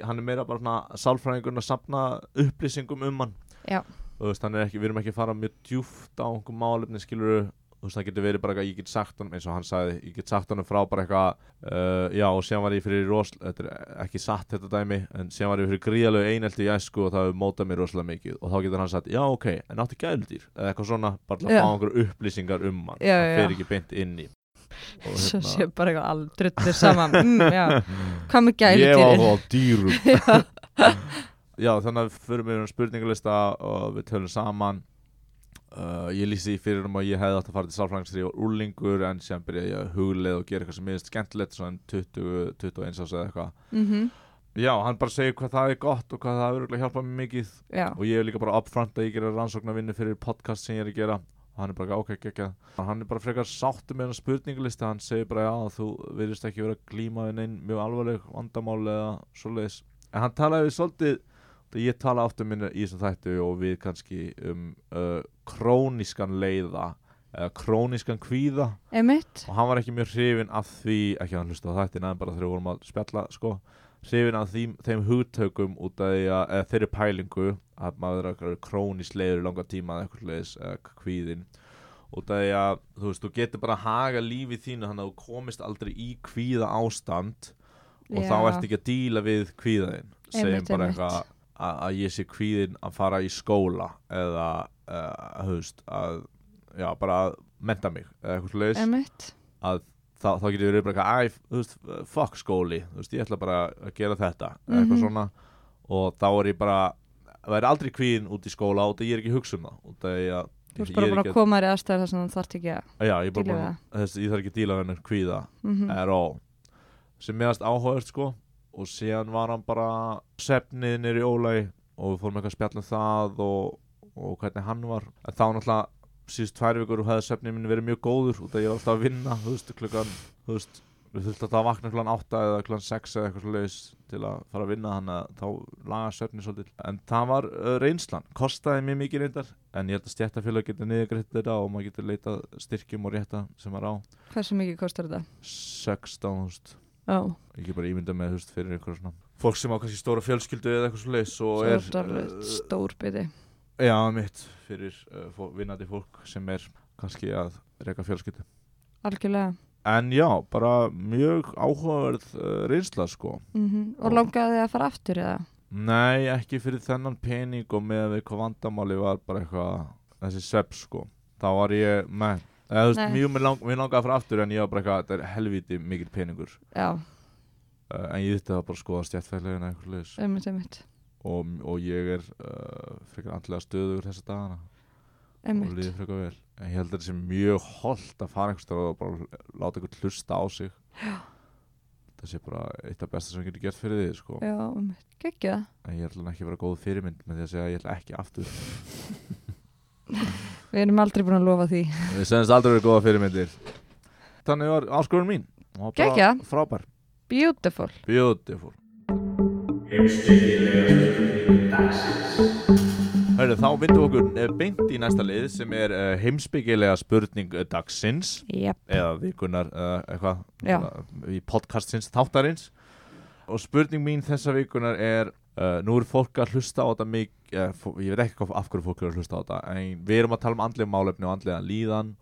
A: hann er meira bara svona sálfræðingurinn að sapna upplýsingum um hann
B: já,
A: og þú veist, hann er ekki, við erum ekki að fara mjög djúft á einhver málefni skilur þú veist það getur verið bara eitthvað ég get sagt hann eins og hann sagði, ég get sagt hann frá bara eitthvað, uh, já og síðan var ég fyrir rosl, þetta er ekki satt þetta dæmi en síðan var ég fyrir gríðalegu einelti í æsku og það hefur mótað mér rosalega mikið og þá getur hann sagt já ok, en áttu gæludýr eða eitthvað svona, bara til að
B: Já.
A: fá einhverju upplýsingar um hann,
B: Já,
A: það
B: já,
A: fer
B: já.
A: ekki beint inn í og hérna,
B: Svo sé bara eitthvað alveg druttir saman mm, já. Hvað
A: ég
B: með
A: var
B: gæludýrin?
A: þá á dýrum já þannig að við förum yfir um spurningalista og við tölum saman uh, ég lýsi því fyrir um að ég hefði átt að fara til sálfræðings þegar ég var úrlingur en sem byrjaði ég að hugleið og gera eitthvað sem miðist skemmtilegt svona um 20, 21 árs eða eitthvað
B: Mm
A: já hann bara segir hvað það er gott og hvað það er örgulega hjálpað mér mikið
B: Já,
A: og ég er líka bara upfront að ég gera rannsóknarvinnu fyrir podcast sem ég er að gera og hann er bara ok, ok, ok hann er bara frekar sáttu með hann spurningalista hann segir bara já, þú virðist ekki vera að glíma við neinn mjög alvarleg vandamál eða svoleiðis, en hann talaði við svolítið þegar ég tala oft um minna í þessum þættu og við kannski um uh, krónískan leiða eða krónískan kvíða
B: emitt
A: og hann var ekki mjög hrifin af því ekki að hann hlusta á þættin en bara þegar við vorum að spjalla sko, hrifin af því, þeim hugtökum út af því að eða þeirri pælingu að maður er eitthvað krónislegur í langa tíma eða eitthvað leiðis eða kvíðin út af því að þú veist, þú getur bara að haga lífi þínu þannig að þú komist aldrei í kvíða ástand og þá ertu ekki að díla við kvíðaðinn segjum
B: Einmitt,
A: bara
B: einmitt.
A: eitthvað að að ég sé kvíðinn að fara í skóla eða, uh, höfst, að, já, bara að menta mig eða eitthvað leiðis
B: Emitt
A: að þá, þá getur við verið bara eitthvað, æ, þú veist, fuck skóli, þú veist, ég ætla bara að gera þetta, eitthvað
B: Mhm.
A: svona og þá er ég bara, það er aldrei kvíðin út í skóla og það ég er ekki að hugsa um það og það er ég að,
B: Þú ert
A: ég
B: bara
A: er
B: búin
A: ekki
B: að koma þér í aðstæður þar sem þú þarft ekki að
A: að, já, ég er bara
B: díla
A: búin
B: við
A: að, þess, ég þarf ekki að díla við hennar kvíða
B: mm
A: er all sem meðast áhugast sko og síðan var hann bara svefnið nýri ólægi og við fórum eitthvað að spjalla um það og, og hvernig hann var en þá náttúrulega síðust tvær vikur hefði svefnið minn verið mjög góður út af ég var alltaf að vinna þú veist klukkan þú veist við þurftum alltaf að vakna klukkan 8 eða klukkan 6 eða eitthvað slags til að fara að vinna þannig að þá laga svefnið svolítið en það var uh, reynslan, kostaði mjög mikið reyndar en ég held að stjættafélag getur niðurgreitt þetta og maður getur leitað styrkjum og rétta sem maður á
B: Hversu mikið kostar þetta?
A: 16.000
B: Já,
A: ég get bara ímynda með þú veist fyrir einhver svona fólk sem á kannski stóra fjölskyldu eða eitthvað svo leis og
B: svo
A: er
B: er þetta alveg
A: uh,
B: stór biti
A: já mitt fyrir uh, fó- vinnandi fólk sem er kannski að reyka fjölskyldu
B: Algjörlega
A: en já, bara mjög áhugaverð uh, reynsla sko
B: mm Og
A: Og-
B: langaði þið að fara aftur eða?
A: nei, ekki fyrir þennan pening og með við hvað vandamáli var bara eitthvað þessi svepp sko þá var ég, nei, eða, þú veist,
B: Nei.
A: mjög mér lang, mér langaði frá aftur en ég var bara eitthvað þetta er helviti mikil peningur
B: Já,
A: uh, en ég þetta bara að skoða stjættfælegin eða eitthvað leis
B: emitt, emitt
A: og, og ég er uh, frekar andlega stöðugur þessa dagana og
B: Emitt
A: líður frekar vel en ég held að þetta sé mjög holdt að fara einhvers einhverstað og bara láta einhvern hlusta á sig þetta sé bara eitt af besta sem getur gert fyrir þig sko.
B: Já, emitt Gekkið
A: en ég ætla hann ekki að vera góð fyrirmynd með því að segja að ég ætla ekki aftur
B: Við erum aldrei búin að lofa því
A: við semst aldrei verið góða fyrirmyndir þannig var áskorun mín Hún var bara
B: Geggjað.
A: frábær,
B: Beautiful
A: beautiful Hörru, þá vindum við okkur eh, beint í næsta lið sem er uh, heimsbyggilega spurning eh, dagsins
B: Jep
A: eða vikunar eða eitthvað
B: Já.
A: eða í podcastins þáttarins og spurning mín þessa vikunar er uh, nú er fólk að hlusta á þetta mikið uh, ég veit ekki hvað, af hverju fólk er að hlusta á þetta en við erum að tala um andlega málefni og andlega líðan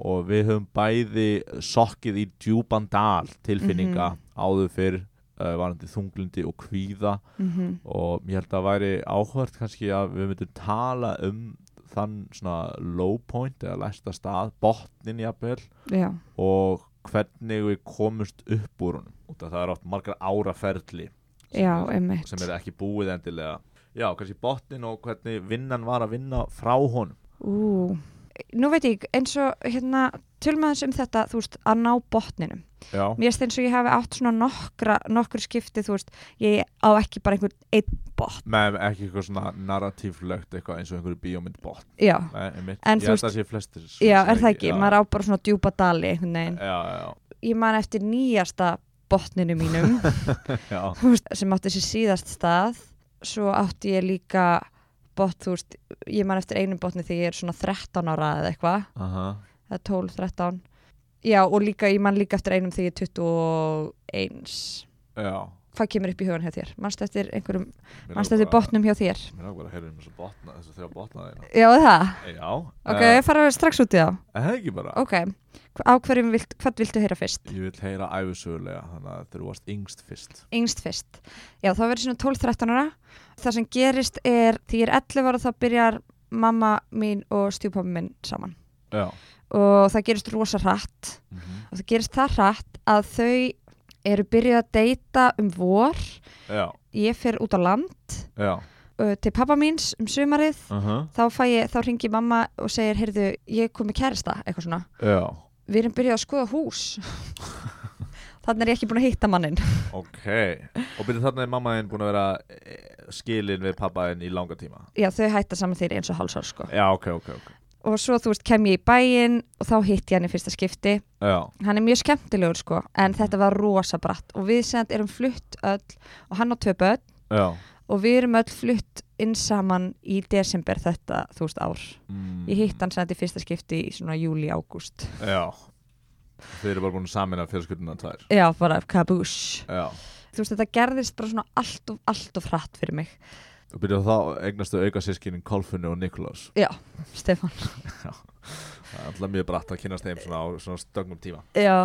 A: og við höfum bæði sokkið í djúpan dal tilfinninga áður fyrr uh, varandi þunglindi og kvíða
B: mm
A: og ég held að væri áhvert kannski að við myndum tala um þann svona low point eða læsta stað, botnin jafnvel
B: Já,
A: og hvernig við komumst upp úr honum og það er oft margar ára ferli sem
B: já,
A: er-
B: emitt
A: sem er ekki búið endilega já, kannski botnin og hvernig vinnan var að vinna frá honum
B: Ú, nú veit ég, eins og hérna, tölum aðeins um þetta, þú veist, að ná botninum.
A: já,
B: Mér finnst eins og ég hafi átt svona nokkra, nokkur skipti, þú veist, ég á ekki bara einhvern einn botn.
A: með ekki eitthvað svona narratíflögt eitthvað eins og einhverju bíómynd botn
B: Já,
A: Nei, einmitt.
B: En
A: ég
B: þú
A: held að það sé flestir sem
B: já,
A: segja
B: er það ekki,
A: já. Eh.
B: maður á bara svona djúpa dali einhvern veginn.
A: já, já,
B: Ég man eftir nýjasta botninu mínum,
A: já,
B: þú veist, sem átti sér síðast stað, svo átti ég líka botn, þú veist, ég man eftir einum botni þegar ég er svona 13 ára eða eitthvað.
A: aha
B: eða 12, 13 já og líka, ég man líka eftir einum þegar ég er 21
A: já
B: hvað kemur upp í hugan hjá þér? Manstu eftir einhverjum,
A: Mér
B: manstu
A: langar
B: eftir botnum hjá þér?
A: Mér langar að heyra um þessu botna, þessu þrjá botna þeirna.
B: Já, er það?
A: Já.
B: Ok,
A: eh,
B: fara strax út í það.
A: En það er ekki bara.
B: Ok, á hverjum vilt, hvað viltu heyra fyrst?
A: Ég vil heyra æfisögulega, þannig að þú varst yngst fyrst.
B: Yngst fyrst. Já, þá verður svona 12-13 ára. Það sem gerist er, því ég er 11 ára þá byrjar mamma mín og stjúpappi minn saman.
A: Já.
B: Og það gerist rosa hratt. Og það gerist það hratt að þau eru byrjuð að deyta um vor.
A: Já,
B: Ég fer út á land
A: já.
B: uh, til pappa míns um sumarið.
A: Uh
B: Þá, fæ ég, þá ringi mamma og segir, heyrðu, ég kom með kærasta, eitthvað svona.
A: Já.
B: Við erum byrjuð að skoða hús. Þannig er ég ekki búin að hitta mannin.
A: Ok. Og byrju þarna er mamma þinn búin að vera eh, skilin við pappa þinn í langa tíma.
B: Já, þau hætta saman þeir eins og hálsar sko.
A: Já, ok, ok, ok.
B: Og svo, þú veist, kem ég í bæinn og þá hitt ég hann í fyrsta skipti.
A: Já.
B: Hann er mjög skemmtilegur sko, en þetta var rosa bratt. Og við sem sagt erum flutt öll, og hann á tvö börn,
A: Já.
B: og við erum öll flutt inn saman í desember þetta, þú veist, ár.
A: Mm.
B: Ég hitt hann sem sagt í fyrsta skipti í svona júli, ágúst.
A: Já. Þið eru bara búin að samina fjölskylduna tvær.
B: Já, bara kabús.
A: Já.
B: Þú veist, þetta gerðist bara svona allt of, allt of hratt fyrir mig.
A: Og byrju þá eignastu auka sískinin Kolfunni og Nikolás.
B: Já, Stefán.
A: Það er alltaf mjög bratt að kynast þeim svona á svona stöngum tíma.
B: Já.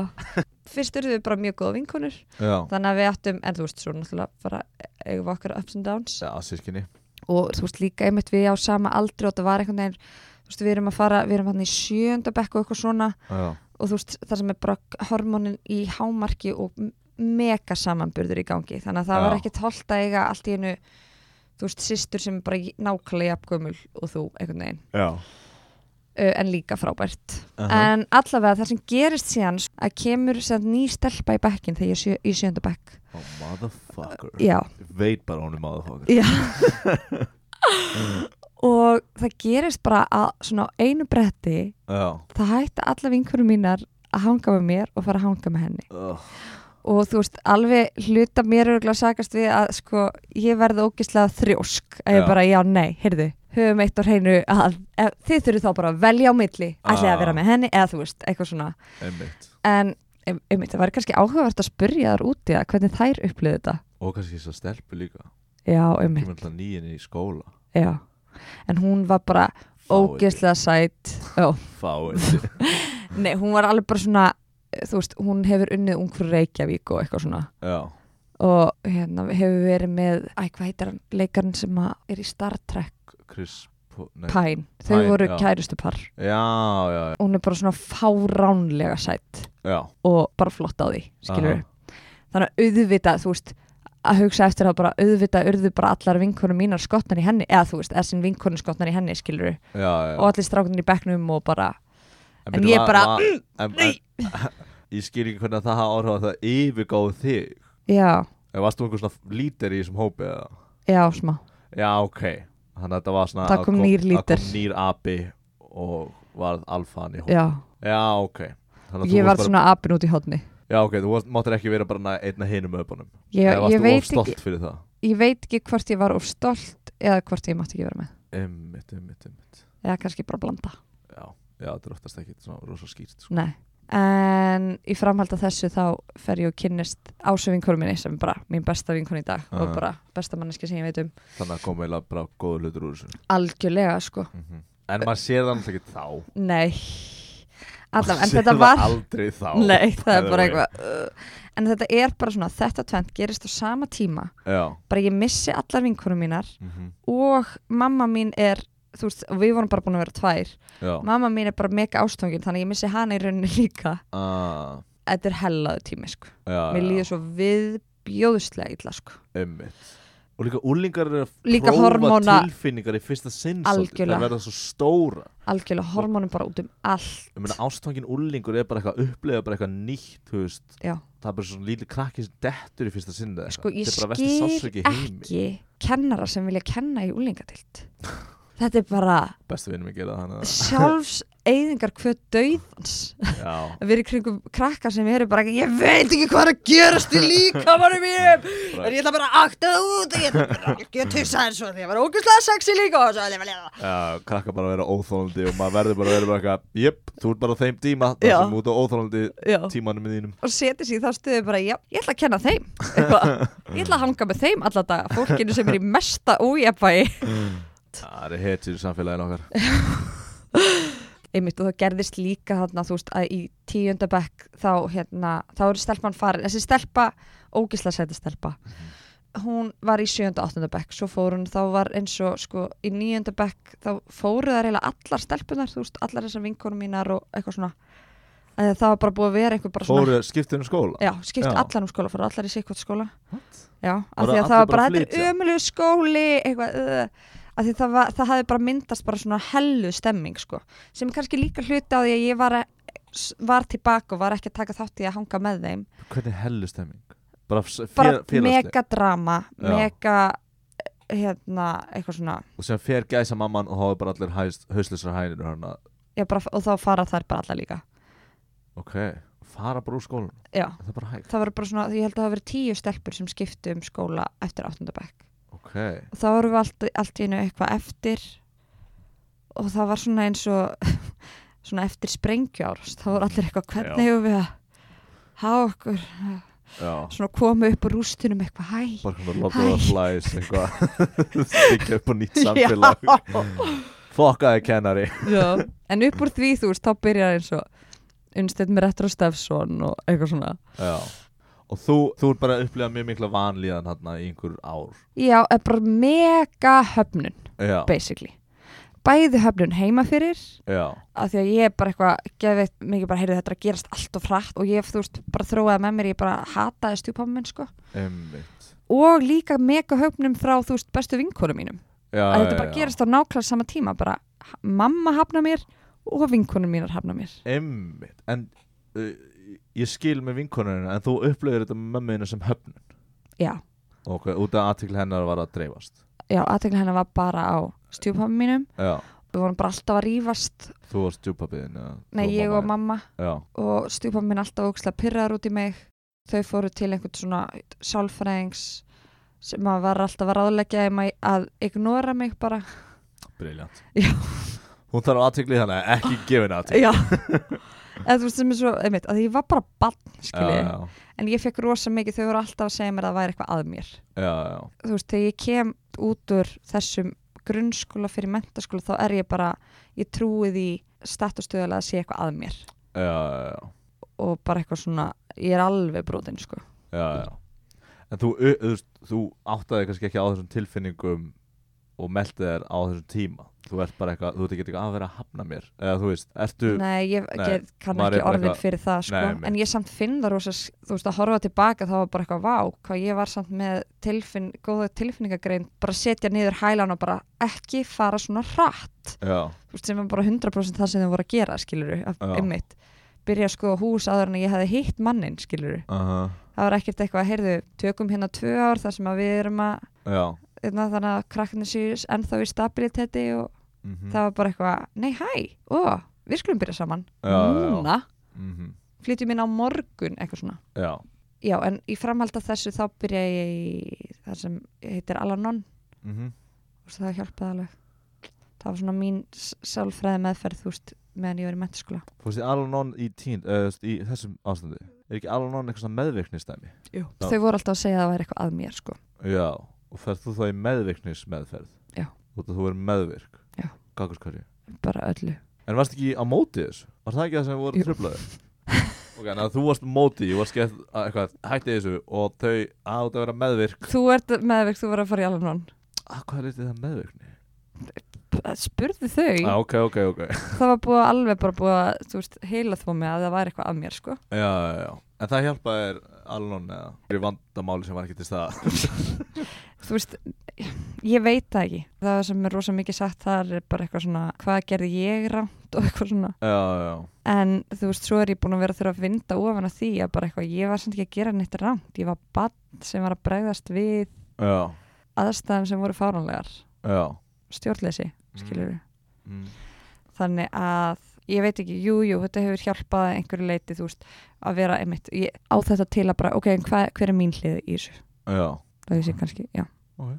B: Fyrst eru við bara mjög góða vinkonur.
A: Já.
B: þannig að við ættum, en þú veist, svo náttúrulega bara eigum við okkar ups and downs
A: Já, sískinni.
B: og þú veist líka einmitt við á sama aldri og það var einhvern veginn, þú veist, við erum að fara við erum hann í sjönda bekk og eitthvað svona
A: Já.
B: og þú veist, það sem er bara hormónin í hámarki og m- mega samanburður í gangi, þannig að það
A: Já.
B: var ekkert holdt að eiga allt í einu þú veist, systur sem er bara í- nákvæmlega jafngömmul og þú einhvern veginn,
A: Já.
B: uh, en líka frábært
A: Aha.
B: en allavega það sem gerist síðan að kemur sem sagt ný stelpa í bekkin þegar ég er sjö, í sjönda bekk
A: Oh, motherfucker.
B: já,
A: Ég Veit bara hún er motherfucker.
B: Já Og það gerist bara að svona á einu bretti
A: Já.
B: það hætti alla vinkurum mínar að hanga með mér og fara að hanga með henni
A: Ugh.
B: og þú veist, alveg hluta mér örgulega sakast við að sko ég verði ógislega þrjósk
A: Já.
B: að ég bara, já, nei, heyrðu, höfum eitt á hreinu að ef, þið þurfið þá bara að velja á milli ætlaði
A: Ah.
B: að vera með henni eða þú veist, eitthvað svona
A: Einmitt.
B: en um, um, það var kannski áhugavert að spurja þar úti að hvernig þær upplifðu þetta
A: Og kannski þess að stelpu líka.
B: já, um,
A: Kemur alltaf nýjinn í skóla.
B: já en hún var bara ógeðslega sætt já.
A: Fáið.
B: Nei, hún var alveg bara svona eh, þú veist, hún hefur unnið ungfrú Reykjavík og eitthvað svona
A: Já.
B: og hérna hefur verið með æ, hvað heitir hann, leikarinn sem að er í Star Trek,
A: Chris Po- nei.
B: Pine þau
A: Pine,
B: voru
A: já.
B: kærustu par
A: Já, já,
B: hún er bara svona fáránlega sætt
A: já.
B: og bara flott á því, skilur
A: Aha.
B: þannig að auðvitað, þú veist að hugsa eftir það bara auðvitað urðu bara allar vinkonum mínar skotnar í henni, eða þú veist, eða sinn vinkonum skotnar í henni, skilur
A: Já, já.
B: og allir stráknir í bekknum og bara en
A: byrju,
B: ég
A: va-
B: bara,
A: va- en, en, Ég skil ekki hvernig að það hafa áhrif að það yfirgáði þig
B: já,
A: Eða varst þú einhver svona lítir í þessum hópi eða?
B: já, smá
A: Já, ok Þannig að þetta var svona
B: Það
A: að
B: kom nýr líder.
A: Það kom nýr api og varð alfan í hópi
B: já,
A: Já, ok Þannig að þú
B: ég var
A: varst
B: svona apin út í hodni
A: bara, Já, ok, þú varst, máttir ekki vera bara na- einn að hinum öpunum
B: ég,
A: Eða varst
B: ég,
A: þú
B: veit
A: of
B: ekki,
A: stolt fyrir það?
B: ég veit ekki hvort ég var of stolt eða hvort ég mátti ekki vera með
A: Einmitt, einmitt, einmitt
B: eða kannski bara blanda
A: Já, já þetta er oftast ekki svona rosa skýrt sko.
B: Nei. en í framhald af þessu þá fer ég og kynnist ásu vinkonum minni sem er bara mín besta vinkon í dag
A: Aha.
B: og bara besta manneski sem ég veit um
A: Þannig að koma eiginlega bara góður hlutur úr þessu
B: algjörlega sko
A: En maður sér það náttúrulega ekki þá
B: nei allavega, en
A: Sér
B: þetta
A: það
B: var
A: aldrei þá
B: nei, það
A: by
B: er
A: the
B: bara
A: way.
B: eitthvað uh, en þetta er bara svona, þetta tvent gerist á sama tíma
A: já,
B: bara ég missi allar vinkonum mínar
A: mm
B: og mamma mín er þú veist, og við vorum bara búin að vera tvær
A: já.
B: mamma mín er bara mega ástöngin þannig að ég missi hana í rauninni líka
A: Ah,
B: þetta er hellaðu tími sko
A: já,
B: mér
A: já,
B: líður svo viðbjóðslega illa sko
A: einmitt. og líka úlingar eru að
B: Líka
A: prófa
B: hormóna-
A: tilfinningar í fyrsta sinn svolítið.
B: Algjörlega.
A: þær verða svo stóra
B: algjörlega hormónum bara út um allt
A: ég meina ástofangin úlingur er bara eitthvað upplega bara eitthvað nýtt þú veist.
B: Já.
A: það er bara svona lítið krakki sem dettur í fyrsta sinn eða
B: sko
A: eitthvað. Þetta
B: ég
A: er bara versti
B: skil
A: sársauki í heimi.
B: ekki kennara sem vilja kenna í úlingatilt þetta er bara
A: bestu vinnum að gera þannig að-
B: sjálfs eigðingar hvað dauðans
A: já,
B: að vera í kringum krakka sem eru bara ég veit ekki hvað er að gerast í líkamanum mínum en ég ætla bara að akta það út og ég ætla bara að geta tussa eins og því ég var ógustlega sexy líka og svo ætla ég bara að lifa
A: já, krakka bara að vera óþólandi og maður verður bara að vera bara eitthvað jöpp, þú ert bara á þeim tíma það
B: Já.
A: sem út á óþólandi
B: Já.
A: tímanum þínum
B: og seti sér í þá stuðu bara já, ég ætla að kenna þeim eitthvað, ég ætla að hanga með þeim alla daga fólkinu sem er í mesta ójæfvægi
A: Ah, það er hetjur í samfélaginu okkar
B: einmitt og það gerðist líka þarna þú veist að í tíunda bekk þá hérna, þá eru stelpan farin þessi stelpa, ógisla sæti stelpa hún var í sjönda, áttunda bekk svo fór hún, þá var eins og sko í níunda bekk, þá fóru það reyla allar stelpunar, þú veist, allar þessar vinkonum mínar og eitthvað svona að það var bara búið að vera einhver bara svona
A: fóru skiptir um skóla
B: já, skipt
A: Já.
B: allar um skóla, fóru allar í sikkvart skóla
A: What?
B: já, af
A: Voru
B: því að
A: allir
B: það
A: bara
B: var bara,
A: að
B: þetta
A: flytja?
B: er ömulegu skóli eitthvað, uh, af því það, var, það hafði bara myndast bara svona hellu stemming sko, sem er kannski líka hluti á því að ég var, að, var tilbaka og var ekki að taka þátt í að hanga með þeim
A: hvernig hellu stemming? bara, s-
B: bara
A: fél- félagsleg.
B: mega drama
A: Já.
B: mega eh, hérna, eitthvað svona
A: og sem fer gæsa mamman og þá er bara allir hæst, hauslisar hænir hana.
B: já, bara, og þá fara þær bara alla líka
A: ok, fara bara úr skólan
B: já,
A: það er bara hægt
B: það var bara svona, ég held að það hafi verið tíu stelpur sem skiptu um skóla eftir 8. bekk
A: ok,
B: og þá vorum við allt, allt í einu eitthvað eftir og það var svona eins og svona eftir sprengjár þá voru allir eitthvað
A: Já.
B: hvernig hefur við að hafa okkur
A: já
B: svona koma upp úr rústunum eitthvað hæ
A: bara hvernig lofður
B: Hæ.
A: að flæs eitthvað byggja upp á nýtt samfélag fokkaði kennari
B: Já. en upp úr því þú veist þá byrjar eins og unnstætt með retro stefson og eitthvað svona
A: já. og þú, þú er bara að upplega mjög mikla vanlíðan hérna í einhver ár
B: já, er bara mega höfnun
A: já,
B: basically bæði höfnun heima fyrir
A: já,
B: af því að ég er bara eitthvað geðveitt mikið bara heyrði þetta er að gerast allt og frætt og ég þú veist bara þróaði með mér ég bara hataði stjúpamma minn sko
A: einmitt
B: og líka mega höfnum frá þú veist bestu vinkonum mínum
A: já,
B: að þetta bara
A: já, já.
B: gerist á nákvæmlega sama tíma bara ha- mamma hafna mér og vinkonum mínar hafna mér
A: einmitt, en uh, ég skil með vinkonurinn en þú upplegur þetta með mömmuðinu sem höfnun
B: já,
A: ok, út af aðtikl hennar var að dreifast
B: já, aðtekla hennar var bara á stjúpamma mínum
A: já,
B: við vorum bara alltaf að rífast
A: þú varst djúpabiðin
B: nei, ég og mamma
A: já,
B: og stjúpamma mín alltaf ógæslega pyrrar út í mig þau fóru til einhvern svona sálfræðings sem að var alltaf að ráðleggja þeim að- að ignora mig bara
A: briljant
B: Já.
A: hún þarf aðtikli þannig að ekki gefin aðtikli
B: Já eða þú veist sem er svo, einmitt, að ég var bara bann, skilji,
A: já,
B: en ég fekk rosa mikið þau voru alltaf að segja mér að það væri eitthvað að mér
A: já, já,
B: þú veist, þegar ég kem út úr þessum grunnskóla fyrir mentaskóla þá er ég bara, ég trúi því statustöðulega að sé eitthvað að mér
A: já, já, já.
B: og bara eitthvað svona, ég er alveg brotin sko.
A: já, já. En þú, ö- þú, veist, þú áttaði kannski ekki á þessum tilfinningum og meldi þér á þessum tíma þú ert bara eitthvað, þú ert ekki eitthvað að vera að hafna mér eða þú veist, ertu
B: Nei, ég
A: Nei,
B: get,
A: maður
B: kann
A: er
B: ekki
A: bara
B: orðin
A: eitthvað-
B: fyrir það sko.
A: Nei, einmitt.
B: en ég samt finn það rosa, þú veist, að horfa tilbaka þá var bara eitthvað vá, hvað ég var samt með tilfinn, góða tilfinningagrein bara setja niður hælan og bara ekki fara svona hratt
A: já,
B: þú veist, sem er bara 100% það sem þau voru að gera skiluru,
A: Já.
B: einmitt byrja að skoða hús áður en ég hefði hitt mannin skiluru,
A: uh
B: það var ekkert eitthvað að heyrðu, tökum hérna tvö ár þar sem að við erum að
A: já
B: hérna, þannig að krakkarnir séu ennþá í stabiliteti og
A: mm
B: það var bara eitthvað, nei hæ ó, við skulum byrja saman
A: Já, já, já.
B: núna,
A: mm -hmm.
B: flytjum inn á morgun eitthvað svona,
A: já,
B: já en í framhald af þessu þá byrja ég í það sem heitir Alanon
A: mm
B: og það hjálpaði alveg það var svona mín s- sálfræði meðferð þú veist, meðan ég var í mentaskóla
A: fórstu Al-Anon í tínd uh, í þessum ástandi, er ekki Al-Anon eitthvað svona meðvirknistæmi?
B: Jú.
A: Já.
B: þau voru alltaf að segja að það væri eitthvað að mér sko.
A: Já, og ferð þú þá í meðvirknismeðferð?
B: Já.
A: Þú ert að þú er meðvirk?
B: Já.
A: Gagvart hverju?
B: bara öllu
A: En varst ekki á móti þessu? Var það ekki það sem voru
B: Jú.
A: tröflaði? ok, en að þú varst móti, ég varst gett að eitthvað, hætti þessu og þau að út að vera meðvirk.
B: þú ert meðverk, þú voru að fara í Alanon
A: Að hvað er litið það meðvirkni?
B: P- eh, spurðu þau,
A: Ah, ok, ok, ok. Já,
B: það var búið að alveg bara búið að, þú veist, heila þvó mig að það væri eitthvað að mér sko.
A: já, já. En það hjálpaði þér alveg eða fyrir vandamáli sem var ekki til stað.
B: þú veist, ég veit það ekki það sem er rosa mikið sagt þar er bara eitthvað svona, hvað gerði ég rámt og eitthvað svona,
A: já, já.
B: en þú veist, svo er ég búin að vera að þurfa að vinda ofan að því að bara eitthvað, ég var samt ekki að gera neitt rámt ég var bann sem var að bregðast við
A: Já,
B: aðstæðum sem voru fáránlegar
A: já.
B: stjórnleysi skilur
A: Mm.
B: þannig að ég veit ekki, jú, jú, þetta hefur hjálpað að einhverju leiti, þú veist, að vera einmitt, ég, á þetta til að bara, ok, en hva, hver er mín hlið í þessu,
A: Já.
B: það sé kannski, já
A: Ok.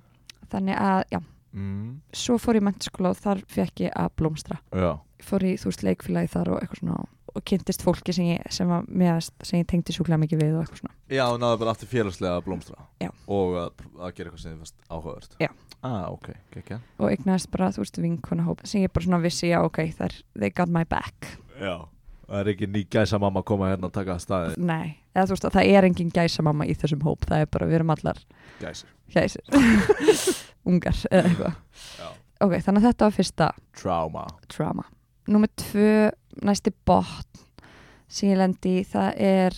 B: þannig að, já,
A: Mm.
B: svo fór ég mentaskóla og þar fekk ég að blómstra
A: Já.
B: fór í, þú veist, leikfélagi þar og eitthvað svona og kynntist fólki sem ég, sem, að, mér varst- sem ég tengdi sjúklega mikið við og eitthvað svona
A: Já, þú náðu bara aftur félagslega að blómstra
B: Já.
A: og að, að gera eitthvað sem þið fannst áhugavert
B: Já.
A: Ah, ok, gekkja
B: og eignaðist bara, þú veist, vinkonahóp sem ég bara svona vissi, já, ok, þær, they got my back
A: Já, það er ekki ný gæsa mamma að koma hérna og taka að staði
B: nei, eða þú veist, að það er engin gæsa mamma í þessum hóp, það er bara, við erum allar
A: Gæsir
B: gæsir ungar eða eitthvað
A: Já.
B: ok, þannig að þetta var fyrsta
A: Trauma
B: trauma Númer tvö, næsti botn sem ég lendi í, það er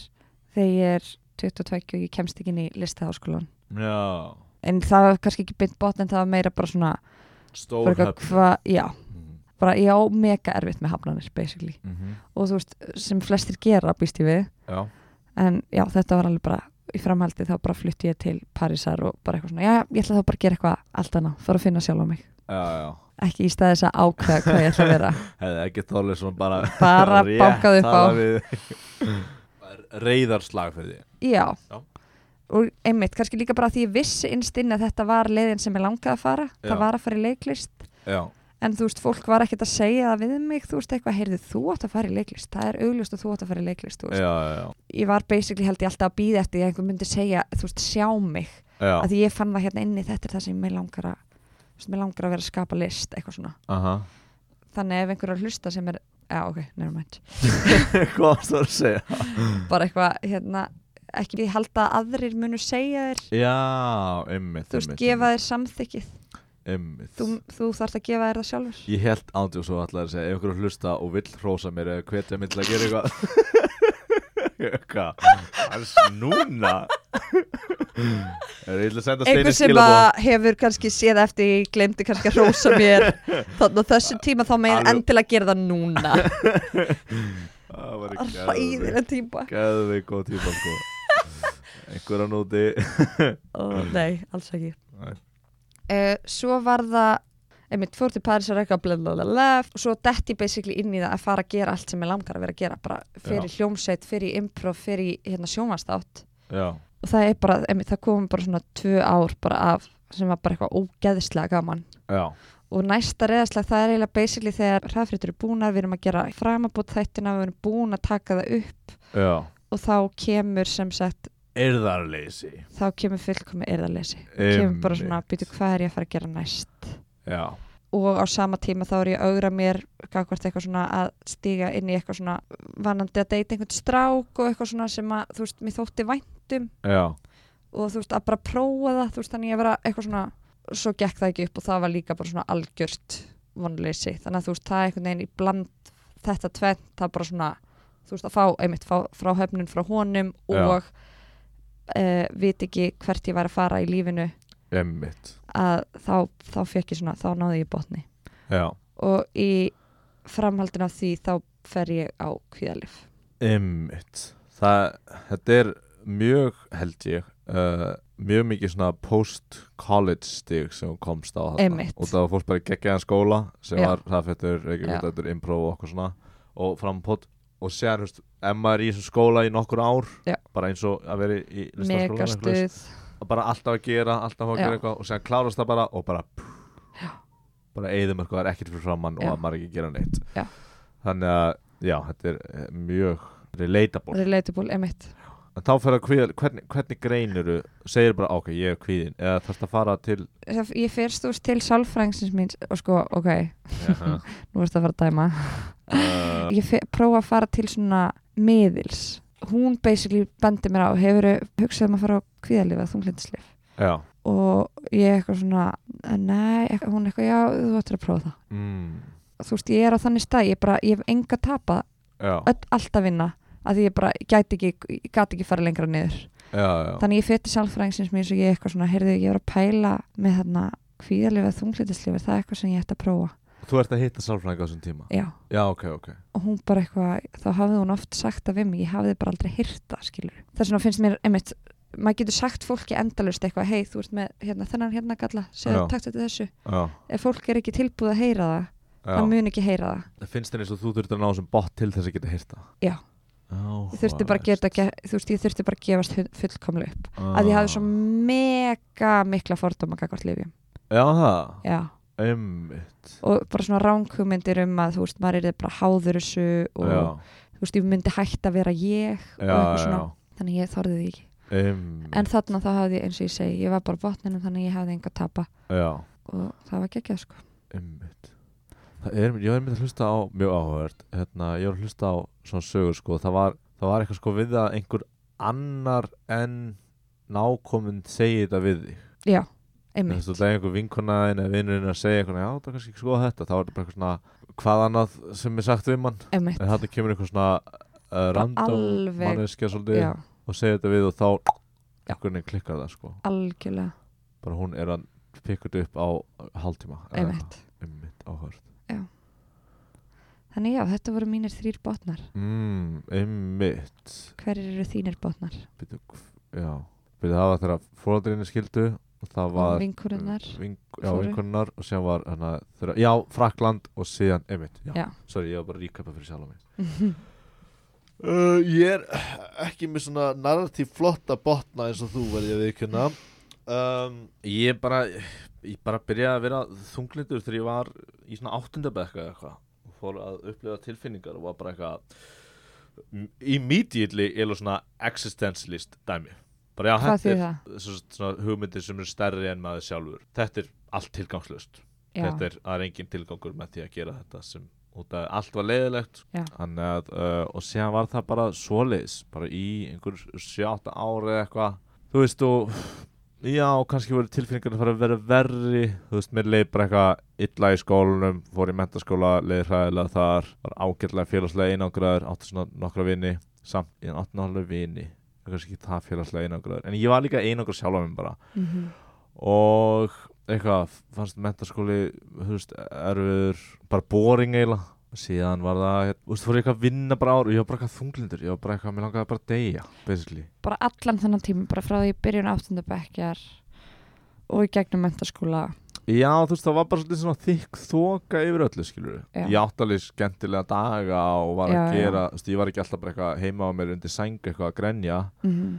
B: þegar ég er 22 og ég kemst ekki inn í listaháskólan
A: Já,
B: en það var kannski ekki beint botn en það var meira bara svona
A: stór
B: bara eitthvað
A: höfn
B: hva, já,
A: mm
B: bara ég á mega erfitt með hafnanir basically
A: -hmm.
B: og þú veist, sem flestir gera býst ég við
A: Já,
B: en já, þetta var alveg bara í framhaldi þá bara flutti ég til Parísar og bara eitthvað svona, já, já, ég ætla þá bara að gera eitthvað allt annað, fara að finna sjálf á mig
A: já, já
B: ekki í stað þess að ákveða hvað ég ætla að vera
A: Hefði ekki þorlega svona bara
B: Bara
A: rétt
B: bankað upp á.
A: tala við Reyðarslag fyrir því
B: já.
A: Já.
B: og einmitt, kannski líka bara því ég vissi innst inn að þetta var leiðin sem ég langaði að fara
A: Já.
B: það var að fara í leiklist
A: Já,
B: en þú veist, fólk var ekkert að segja það við mig þú veist, eitthvað, heyrðu, þú átt að fara í leiklist það er augljóst að þú átt að fara í leiklist þú
A: já,
B: veist.
A: já,
B: ég var basically held ég alltaf að býða eftir því að einhver myndi segja, þú veist, sjá mig
A: já.
B: að því ég fann það hérna inni, þetta er það sem mig langar að þú veist, mig langar að vera að skapa list eitthvað svona,
A: Aha.
B: þannig ef einhver er að hlusta sem er, já, ok, nefnumænt
A: Hvað varst það að segja? Mm.
B: bara eitthvað hérna, ekki ég held að aðrir munu segja þér
A: Já, ymmið
B: þú veist, gefa þér samþykkið
A: Ymmið
B: þú, þú þarft að gefa þér það sjálfur
A: Ég held ándjóð svo allar að segja ef einhverju hlusta og vill hrósa mér eða hvetja mér til að gera eitthvað Hvað? Það er snúna Er ég ætla að senda steinu
B: einhver sem að hefur kannski séð eftir ég glemdi kannski að rósa mér þannig á þessu tíma þá megin
A: Alveg-
B: endilega gera það núna
A: Það var
B: ræðilega tíma
A: Gæðvig góð tíma sko Einhverja núti
B: og nei, alls ekki
A: Nei.
B: uh, svo var það einmitt fór til Paris að reyka blablabla og svo detti ég basically inn í það að fara að gera allt sem ég langar að vera að gera bara fyrir hljómsveit, fyrir improv, fyrir hérna, sjónvastátt
A: Já,
B: og það er bara, einmitt, það kom bara svona tvö ár bara af sem var bara eitthvað ógeðislega gaman
A: já,
B: og næsta reyðaslega það er eiginlega basically þegar hraðfréttur eru búnar, við erum að gera framabót þættina, við erum búin að taka það upp
A: já
B: og þá kemur sem sagt,
A: Erðarleysi
B: þá kemur fullkomi erðarleysi kemur bara svona, býtu hvað er ég að fara að gera næst
A: Já,
B: og á sama tíma þá er ég að augra mér gagvart eitthvað svona að stíga inn í eitthvað svona vanandi að deyta einhvern strák og eitthvað svona sem að þú veist, mér þótti væntum
A: já,
B: og þú veist, að bara prófa það þú veist, þannig að vera eitthvað svona svo gekk það ekki upp og það var líka bara svona algjört vonleysi, þannig að þú veist, það er einhvern veginn í bland þetta tvennt, það er bara svona þú veist, að fá, einmitt, fá, frá höfnun frá honum
A: Já.
B: og uh, vit ekki hvert ég var að fara í lífinu
A: ymmið
B: að þá, þá fekk ég svona, þá náði ég botni
A: Já,
B: og í framhaldin af því þá fer ég á kvíðalif
A: ymmið Það, þetta er mjög held ég uh, mjög mikið svona post-college stig sem hún komst á þarna.
B: Einmitt.
A: og það var fólk bara geggjaðan skóla sem
B: Já.
A: var hraðfettur, reykjafettur, improv og okkur svona og frampot og sér, hefst, ef maður er í þessum skóla í nokkur ár
B: Já.
A: bara eins og að vera í listaskóla
B: megastuð,
A: bara alltaf að gera, alltaf að
B: Já.
A: gera eitthvað og sér klárast það bara og bara pff, bara eigðum eitthvað, það er ekkert fyrir framann
B: Já.
A: og að maður ekki gera neitt
B: Já.
A: þannig að, já, þetta er eh, mjög relatable
B: relatable, einmitt
A: En þá fyrir að kvíða, hvernig, hvernig greinuru segir bara, ok, ég er kvíðin eða þarfst að fara til
B: Það- ég fyrst úr til sálfrængsins mín og sko, ok, nú ertu að fara að dæma
A: uh,
B: ég fe- prófa að fara til svona miðils hún basically bendi mér á hefur hugsað um að fara á kvíðalif að þunglindislif
A: Já
B: og ég eitthvað svona nei, eitthvað- hún eitthvað já, þú ættir að prófa það
A: mm,
B: þú veist, ég er á þannig stað, ég, bara, ég hef enga tapa
A: Já,
B: öll, allt að vinna að því ég bara gæti ekki, ég gæti ekki fara lengra niður
A: já, já
B: þannig ég fyrti sálfræðingsins mér og ég eitthvað svona, heyrðu, ég var að pæla með þarna kvíðalif að þunglindislif það er eitthvað sem ég ætti að prófa,
A: Þú ert að hitta sálfræðinga á þessum tíma
B: já
A: Já, ok, ok
B: og hún bara eitthvað, þá hafði hún oft sagt það við mig, ég hafði bara aldrei hýrta, skilur. Þess vegna finnst mér, einmitt, maður getur sagt fólki endalust eitthvað hei, þú ert með hérna, þennan hérna galla
A: Já.
B: segðu takt eftir þessu
A: já,
B: ef fólk er ekki tilbúið að heyra það það
A: já.
B: mun ekki heyra það
A: Það finnst þér eins og þú þurftir að ná þessum bot til þess að geta hýrta
B: Já. ég þurfti bara að gera þetta ge- þú veist, ég þurfti bara að gefast hu- fullkomlega upp að ég
A: Ah.
B: hafði svo mega mikla fordóma gagvart lifjum
A: Já, það,
B: já
A: ummitt
B: og bara svona ránkugmyndir um að þú veist, maður er bara háður þessu og
A: Já,
B: þú veist, ég myndi hægt að vera ég og
A: já, já
B: eitthvað
A: Mm.
B: svona, þannig ég þorði því ekki
A: Einmitt,
B: en þarna þá hafði ég, eins og ég segi, ég var bara á botninum þannig ég hafði enga tapa
A: já
B: og það var geggjað sko
A: Einmitt. Það er, ég var einmitt að hlusta á, mjög áhugavert, hérna, ég var að hlusta á svona sögur sko, það var, það var eitthvað sko við að einhver annar en nákominn segi þetta við þig.
B: já,
A: Þú
B: einmitt,
A: veist, það er einhver vinkonaðin eða vinurinn að segja eitthvað, já, það er kannski ekki sko þetta, þá er þetta bara eitthvað svona, hvað annað sem er sagt við mann,
B: einmitt
A: en þarna kemur eitthvað svona uh, random
B: alveg-
A: manneskja svolítið
B: já,
A: og segja þetta við og þá
B: Já.
A: einhvern veginn klikkar það sko,
B: algjörlega,
A: bara hún er að pikka þetta upp á hálftíma. eða
B: einmitt
A: eitthvað. Einmitt, áhugavert.
B: þannig já, þetta voru mínir þrýr botnar
A: Mm, einmitt
B: hverjir eru þínir botnar?
A: Býtu, hv- já Býtu, það var þegar fóraldrinni skildu og það
B: og
A: var
B: vinkurinnar
A: vink, já,
B: fóru.
A: vinkunnar og síðan var hana, þeirra, já, Frakland og síðan einmitt, já,
B: Já.
A: sorry, ég var bara að ríkapa fyrir sjálf á mig uh, Ég er ekki með svona narratív flotta botna eins og þú verði að viðkjöna um, Ég bara ég bara byrjaði að vera þunglindur þegar ég var í svona áttundabekka eða eitthvað og fór að upplifa tilfinningar og var bara eitthvað immediately eða svona existentialist dæmi bara, já,
B: Hvað
A: þetta er-
B: þýðir það?
A: svo- svona hugmyndir sem eru stærri en maður sjálfur þetta er allt tilgangslust
B: Já.
A: þetta er, það er engin tilgangur með því að gera þetta sem út að allt var leiðilegt
B: Já.
A: Þannig að, uh, og síðan var það bara svoleiðis bara í einhver sjáta ári eða eitthvað þú veist og já og kannski voru tilfinningarnir fara að vera verri þú veist mér leið bara eitthvað illa í skólanum fór í mentaskóla, leið hræðilega þar var ágætlega félagslega einangraður átti svona nokkra vini samt ég átti náttúrulega vini ég var kannski ekki það félagslega einangraður en ég var líka einangraður sjálf á mér bara
B: Mhm.
A: og eitthvað fannst mentaskóli þú veist, erfiður, bara boring eiginlega síðan var það, þú veist, fór ég eitthvað að vinna bara ár og ég var bara eitthvað þunglindur, ég var bara eitthvað mér langaði bara að deyja, basically
B: bara allan þennan tíma, bara frá því í byrjun áttundabækjar og í gegnum mentaskóla
A: Já, þú veist, það var bara svolítið svona þykk þoka yfir öllu, skilur
B: Já.
A: Ég átti alveg skemmtilega daga og var
B: Já,
A: að
B: já.
A: gera, þú veist, ég var ekki alltaf bara eitthvað heima á mér undir sæng eitthvað að grenja
B: mm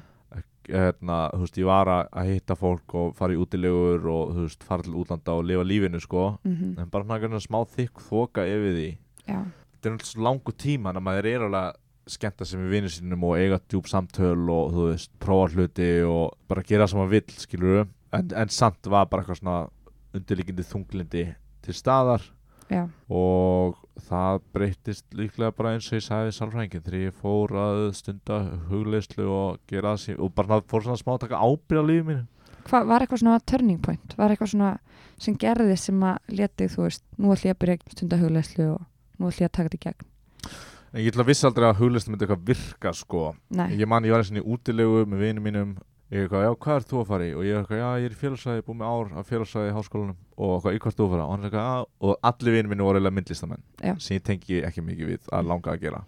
A: hérna, þú veist, ég var að, að hitta fólk og fara í útilegur og, þú veist, fara til útlanda og lifa lífinu, sko en bara svona einhvern veginn smá þykk þoka yfir því
B: já,
A: þetta er náttúrulega svo langur tíma þannig að maður er alveg að skemmta sér með vinnir sínum og eiga djúb samtöl og þú veist, prófa hluti og bara gera sem maður vill, skilur en, en samt var bara eitthvað svona undirlíkindi þunglindi til staðar
B: já,
A: og það breyttist líklega bara eins og ég sagði sálfræðingin þegar ég fór að stunda hugleyslu og gera það sín og bara fór svona smá að taka ábyrða lífið mínu
B: Hva, var eitthvað svona turning point var eitthvað svona sem gerði sem að letið, þú veist, nú ætlum ég að byrja stundahugleslu og nú ætlum ég að taka þetta í gegn
A: en ég ætla að vissi aldrei að hugleyslu myndi eitthvað virka sko
B: nei,
A: ég man, ég var eins og í útilegu með vinum mínum ég eitthvað, já, hvað er þú að fara í? og ég eitthvað, já, ég er í félagsæði, búið með ár af félagsæði í háskólanum og eitthvað, í hvað ert þú að fara? og hann er eitthvað, já, og allir vinum mínu voru eiginlega myndlistamenn
B: Já.
A: sem ég tengi ekki mikið við að langa að gera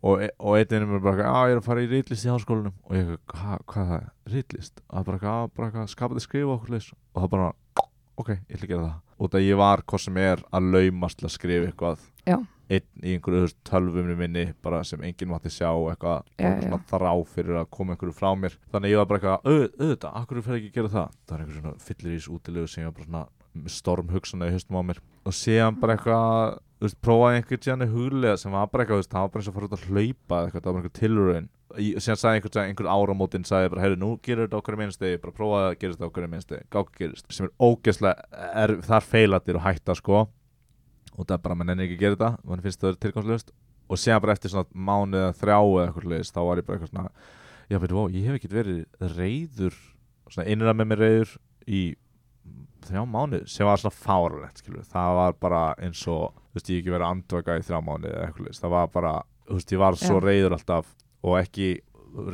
A: og, e- og einn vinum er bara, eitthvað, já, ég er að fara í rýtlist í háskólanum og ég eitthvað, "Ha, hvað er það? rýtlist? og það bara, eitthvað, "Já, bara eitthvað, skapandi skrifa og okkur leys og það bara, ok, ég ætla að gera það út að ég var, hvað sem er, að laumast til að skrifa eitthvað einn í einhverju þú veist, tölvumni minni bara sem enginn mátti sjá og eitthvað
B: Já,
A: bara svona þrá fyrir að koma einhverju frá mér þannig að ég var bara eitthvað, "Au- auðvitað, akkur fer ekki að gera það það er einhver svona fyllir ís útilegu sem ég var bara svona storm hugsanlega í höstum á mér og síðan bara eitthvað, þú veist, prófaði einhvern tíðan í huglega sem var bara eitthvað, þú veist, það var bara eins og að fara út að hlaupa eða eitthvað, það var bara einhver tilraun Í- síðan sagði einhvern tíðan, einhver áramótin sagði bara, heyrðu, nú gerur þetta okkur minnstegi, bara prófaði að gerist þetta okkur minnstegi, gátt gerist sem er ógeðslega, er, þar feilatir og hætta sko, og það er bara, mann enni ekki að gera þetta mann finnst það tilgangslöst og séðan bara eftir svona mánuð eða þrjá eða eitthvað leist, þá var ég bara eitthvað svona já, veitum, ó, ég hef ekkert verið reyður svona innra með mér reyður í þrjá mánuð sem var svona fáralegt, skilur það var bara eins og, þú veist, ég hef ekki verið að andvaka í þrjá mánuð eða eitthvað leist, það var bara þú veist, ég var svo
B: Já.
A: reyður alltaf og ekki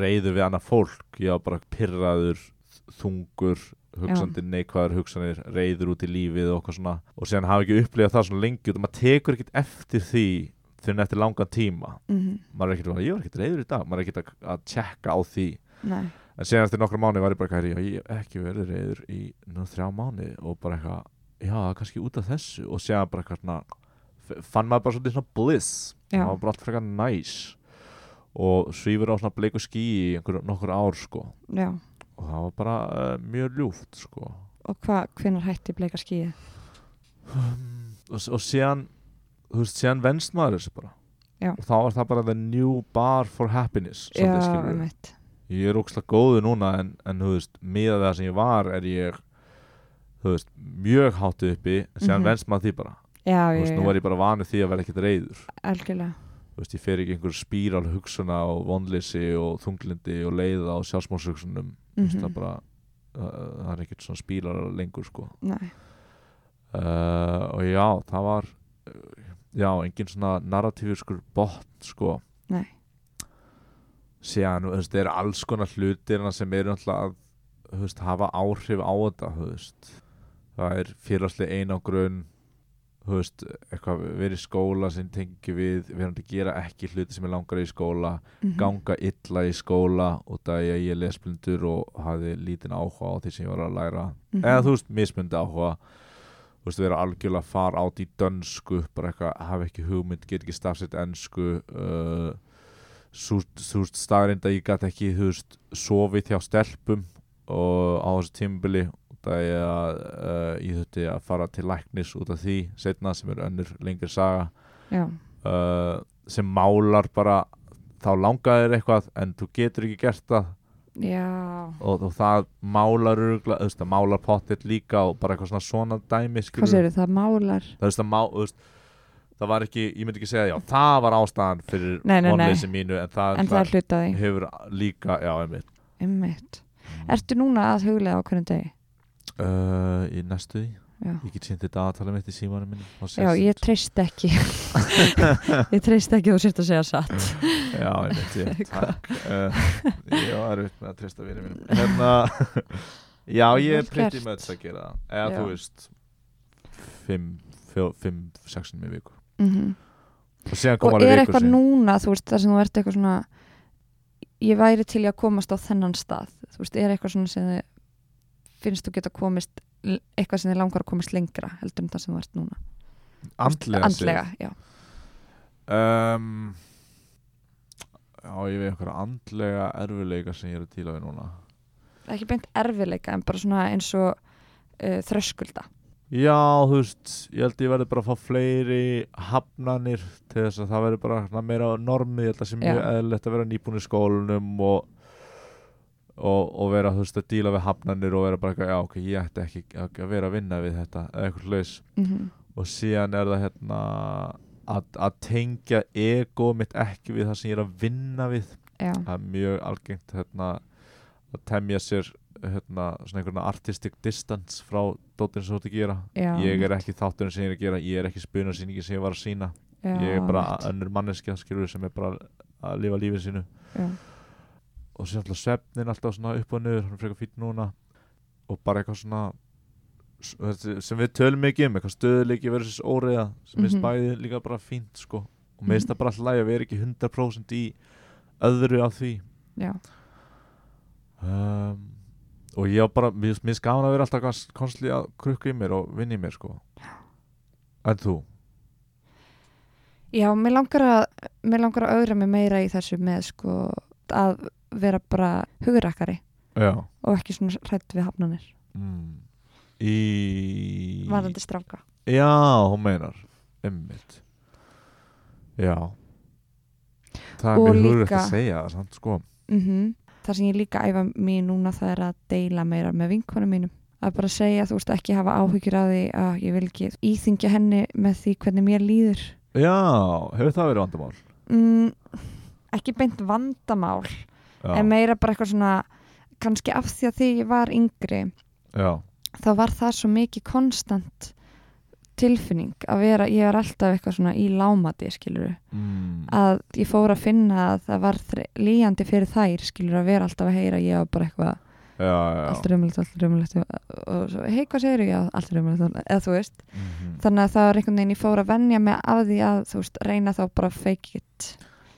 A: reyður við annað fólk ég var bara pyrraður, þungur hugsandi neikvæður hugsanir reyður út í lífið og eitthvað svona og síðan hafa ekki upplifað það svona lengi og maður tekur ekkert eftir því fyrir eftir langan tíma
B: mm
A: maður er ekkert að, ég var ekkert reyður í dag maður er ekkert að, að tjekka á því
B: nei
A: en síðan eftir nokkra mánu var ég bara eitthvað "Herri, ég hef ekki verið reyður í nú þrjá mánu og bara eitthvað, já, það er kannski út af þessu og síðan bara eitthvað svona f- fann maður bara svolítið svona bliss
B: Já.
A: það var bara allt frekar næs og svífur á svona bleiku ský í einhver, nokkur ár sko
B: já.
A: og það var bara uh, mjög ljúft sko
B: og hvað, hvenar hætti bleika skíið
A: og, og síðan þú veist, síðan venst maður þessu bara
B: Já.
A: og þá var það bara the new bar for happiness svolítið, skilurðu.
B: einmitt.
A: ég er ógslag góðu núna en, en þú veist, miðað við það sem ég var er ég þú veist, mjög háttu uppi en síðan
B: Mhm.
A: venst maður því bara
B: já,
A: þú
B: já,
A: veist,
B: já,
A: nú var ég bara vanið því að vera ekkert reyður
B: algjörlega
A: þú veist, ég fer ekki einhver spíral hugsuna og vonleysi og þunglindi og leiða og sjálfsmálshugsunum þú veist, það
B: Mhm.
A: bara það, það er ekkert svona spílar lengur sko
B: Nei.
A: uh, og já, það var uh, já, engin svona narratífiskur botn sko
B: Nei.
A: síðan, þú veist, það eru alls konar hlutir þarna sem eru náttúrulega að þú veist, hafa áhrif á þetta þú veist. það er félagslega einangrun þú veist, eitthvað verið í skóla sem tengi við, verðandi að gera ekki hluti sem er langar í skóla
B: Mhm.
A: ganga illa í skóla og það ég, ég lesblindur og hafði lítinn áhuga á því sem ég var að læra
B: Mhm.
A: eða þú veist, mismundi áhuga þú veist, vera algjörlega að fara át í dönsku bara eitthvað, hafa ekki hugmynd get ekki stafsett ennsku uh, sú- þú veist, staðrind að ég gæti ekki, þú veist, sofið hjá stelpum og á þessu tímbili það ég að uh, ég þurfti að fara til læknis út af því setna sem er önnur lengri saga
B: já,
A: uh, sem málar bara þá langaðir eitthvað en þú getur ekki gert það
B: já
A: og, og það málar örgla, þú veist, það málar pottet líka og bara eitthvað svona svona dæmi
B: hvað
A: skilurðu.
B: segir það, málar
A: það, veist, það, má, þú veist, það var ekki, ég myndi ekki segja já, það var ástæðan fyrir
B: Nei, nei, nei.
A: vonleysi mínu en það,
B: en það er hluti af því,
A: hefur líka, já, einmitt
B: einmitt ertu núna að huglega á hverjum degi
A: uh, í næstu því,
B: já,
A: ég get sýnt þetta aðtala mitt í símanum minni þá
B: já
A: sést-
B: ég treyst ekki ég treyst ekki að þú sért að segja satt
A: Já, ég veit, ég, takk uh, Ég var upp með að treysta vinið mínum Hérna, já, ég er
B: Vel
A: pretty
B: gert.
A: much að gera það Eða
B: Já.
A: þú veist Fimm, fjó, fimm, sexin í viku
B: mm
A: Og síðan kom
B: og
A: alveg
B: er
A: viku
B: eitthvað
A: síðan
B: núna, þú veist, þar sem þú ert eitthvað svona ég væri til í að komast á þennan stað, þú veist, er eitthvað svona sem þið finnst þú geta komist eitthvað sem þið langar að komast lengra heldur en það sem þú ert núna
A: Andlega,
B: andlega, já,
A: séð. um, Já, ég veit einhverja andlega erfiðleika sem ég er að tíla við núna
B: ekki beint erfiðleika en bara svona eins og uh, þröskulda
A: Já, þú veist, ég held ég verði bara að fá fleiri hafnanir til þess að það verði bara svona meira normið, ég held að sé mjög
B: Já.
A: eðlilegt að vera nýbúin í skólanum og, og, og vera, þú veist, að díla við hafnanir og vera bara eitthvað, já, ok, ég ætti ekki að að vera að vinna við þetta, eða eitthvað laus
B: mm
A: og síðan er það hérna að, að tengja ego mitt ekki við það sem ég er að vinna við
B: já,
A: það er mjög algengt hérna, að temja sér hérna, svona einhverna artistic distance frá dóttin sem þú ert að gera
B: já,
A: ég er ekki þátturinn sem ég er að gera ég er ekki spunarsýningin sem ég var að sína
B: já,
A: ég er bara
B: einmitt.
A: önnur manneskja skilur sem er bara að lifa lífið sínu
B: Já.
A: og sér alltaf svefnin alltaf svona upp og niður, hann er frekar fýtt núna og bara eitthvað svona s- þessi- sem við tölum mikið um eitthvað stöðuleiki versus óreiða sem við mm
B: Mhm.
A: bæði líka bara fínt sko og meðist
B: Mhm.
A: það bara alltaf læg að við erum ekki 100% í öðru af því
B: já,
A: um, og ég á bara, mér mér finnst gaman að vera alltaf kons- konstantly að krukka í mér og vinna í mér sko en þú?
B: já, mér langar að mér langar að augra mig meira í þessu með sko að vera bara hugrakkari
A: Já
B: og ekki svona hrætt við hafnanir
A: mm. í
B: varðandi stráka
A: já, hún meinar ymmit já það er
B: Og
A: mjög hugrætt
B: líka-
A: að segja það samt sko
B: mm það sem ég líka æfa mig í núna það er að deila meira með vinkonum mínum að bara segja, þú veist, ekki hafa áhyggjur að því að ég vil ekki íþingja henni með því hvernig mér líður
A: já, hefur það verið vandamál
B: mm, ekki beint vandamál
A: já,
B: en meira bara eitthvað svona kannski af því að því ég var yngri
A: já,
B: þá var það svo mikið konstant tilfinning að vera, ég var alltaf eitthvað svona í lámati skilur
A: mm.
B: að ég fór að finna að það var þre- líjandi fyrir þær skilur að vera alltaf að heyra ég var bara eitthvað
A: já, já
B: allt er umlegt, allt er umlegt og svo, hei hvað segir ég, allt er umlegt eða þú veist,
A: Mhm.
B: þannig að það var einhvern veginn ég fór að venja mig af því að þú veist, reyna þá bara að fake it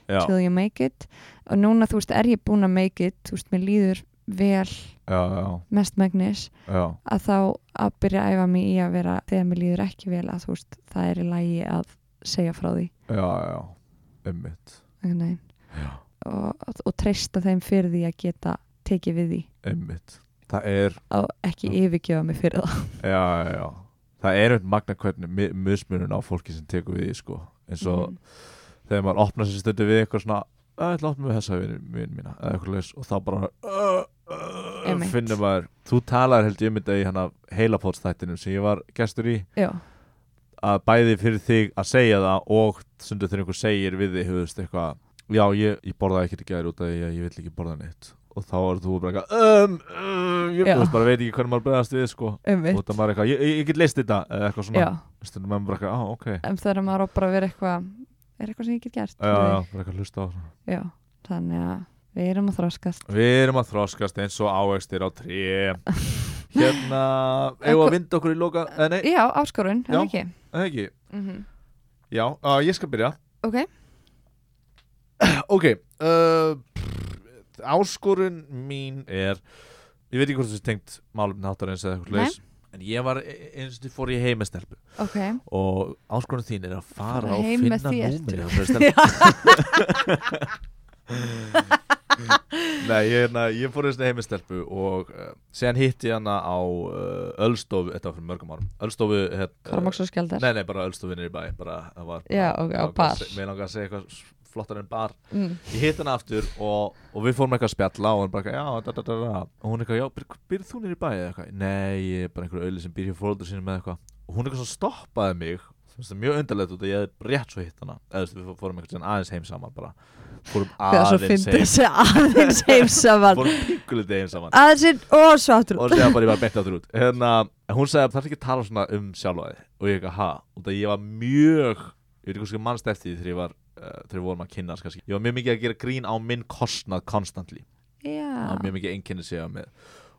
A: já,
B: till you make it og núna þú veist er ég búin að make it þú veist, mér líður vel
A: já, já,
B: mestmægnis
A: já,
B: að þá að byrja að æfa mig í að vera þegar mér líður ekki vel að þú veist það er í lagi að segja frá því
A: já, já einmitt,
B: einhvern veginn.
A: Já.
B: og, og treysta þeim fyrir því að geta tekið við því
A: einmitt það er,
B: og ekki yfirgefa mig fyrir það
A: já, já, já það er einmitt magna hvernig mi- mismunun á fólki sem tekur við því sko, eins og
B: Mhm.
A: þegar maður opnar sér stundu við eitthvað svona "Æ, ég ætla að opna með þessa vinn mína eða eitthvað leis og þá bara uh, uh,
B: Einmitt.
A: finnir maður, þú talar held ég um þetta í hana heilapótstættinum sem ég var gestur í
B: já,
A: að bæði fyrir þig að segja það og sundu þegar einhver segir við þig höfðust eitthvað, já ég, ég borðaði ekkert í gæri út af því að ég vill ekki borða neitt og þá er þú bara eitthvað um, um, ég
B: Já.
A: þú veist, bara veit ekki hvernig maður bregðast við sko
B: einmitt
A: og það maður er eitthvað, ég, ég, ég get leist þetta eða eitthvað svona,
B: um já,
A: stundum maður bara eitthvað, á ok
B: en þegar maður á bara að vera eitthvað er eitthvað sem ég get gert
A: já, já, bara eitthvað hlusta á það
B: já. já, þannig að við erum að þroskast
A: Við erum að þroskast eins og ávextir á tré Hérna Eða að vinda okkur í loka eh, Nei,
B: já, áskorun,
A: Já.
B: en ekki
A: það ekki
B: mm
A: Já, uh, ég skal byrja
B: ok,
A: Ok uh, Áskorun mín er Ég veit ekki hvort þessi tengt málum náttarins eða eitthvað
B: Nei.
A: leis En ég var eins og fór ég heim með stelpu
B: ok
A: Og áskorun þín er að fara
B: Fara
A: og
B: heim
A: finna
B: með þér,
A: númeri á þessari stelpu Nei, ég, na, ég fór eins og heim með stelpu Og uh, séðan hitti ég hana á uh, Ölstofu, þetta var fyrir mörgum árum Ölstofu hérna, hér,
B: Karmaks og skjaldar
A: Nei, nei, bara ölstofinir í bæ bara, það var,
B: Já, ok, á
A: langar að
B: bar.
A: se- Mér langar að segja eitthvað s- flottar en bar
B: mm.
A: Ég hitt hana aftur og, og við fórum eitthvað að spjalla og hún bara, eitthvað, já, da, da, da, da. og hún eitthvað, já, býr, býr þú nýr í bæ eða eitthvað Nei, ég er bara einhver auðli sem býr hjá fóröldur sínum með eitthvað og hún eitthvað svona stoppaði mig sem er mjög undarlegt út að ég hef rétt svo hitt hana eða þú veist, við fórum eitthvað aðeins heim saman bara fórum
B: það svo
A: aðeins
B: fyndi
A: heim
B: þessi aðeins heim saman
A: fórum píkulitið heim saman
B: aðeins heim, og svo aftur út.
A: og segja bara ég var beint áttur út hérna, en hún segja það er ekki að tala svona um sjálfa þig og ég ekki að ha og það ég var mjög ég veit ekki hvað mannst eftir því þegar ég var uh, þegar við vorum að kynna kannski ég var mjög mikið að gera grín á minn kostnað konstantli það
B: já,
A: var mjög mikið einkenni segja með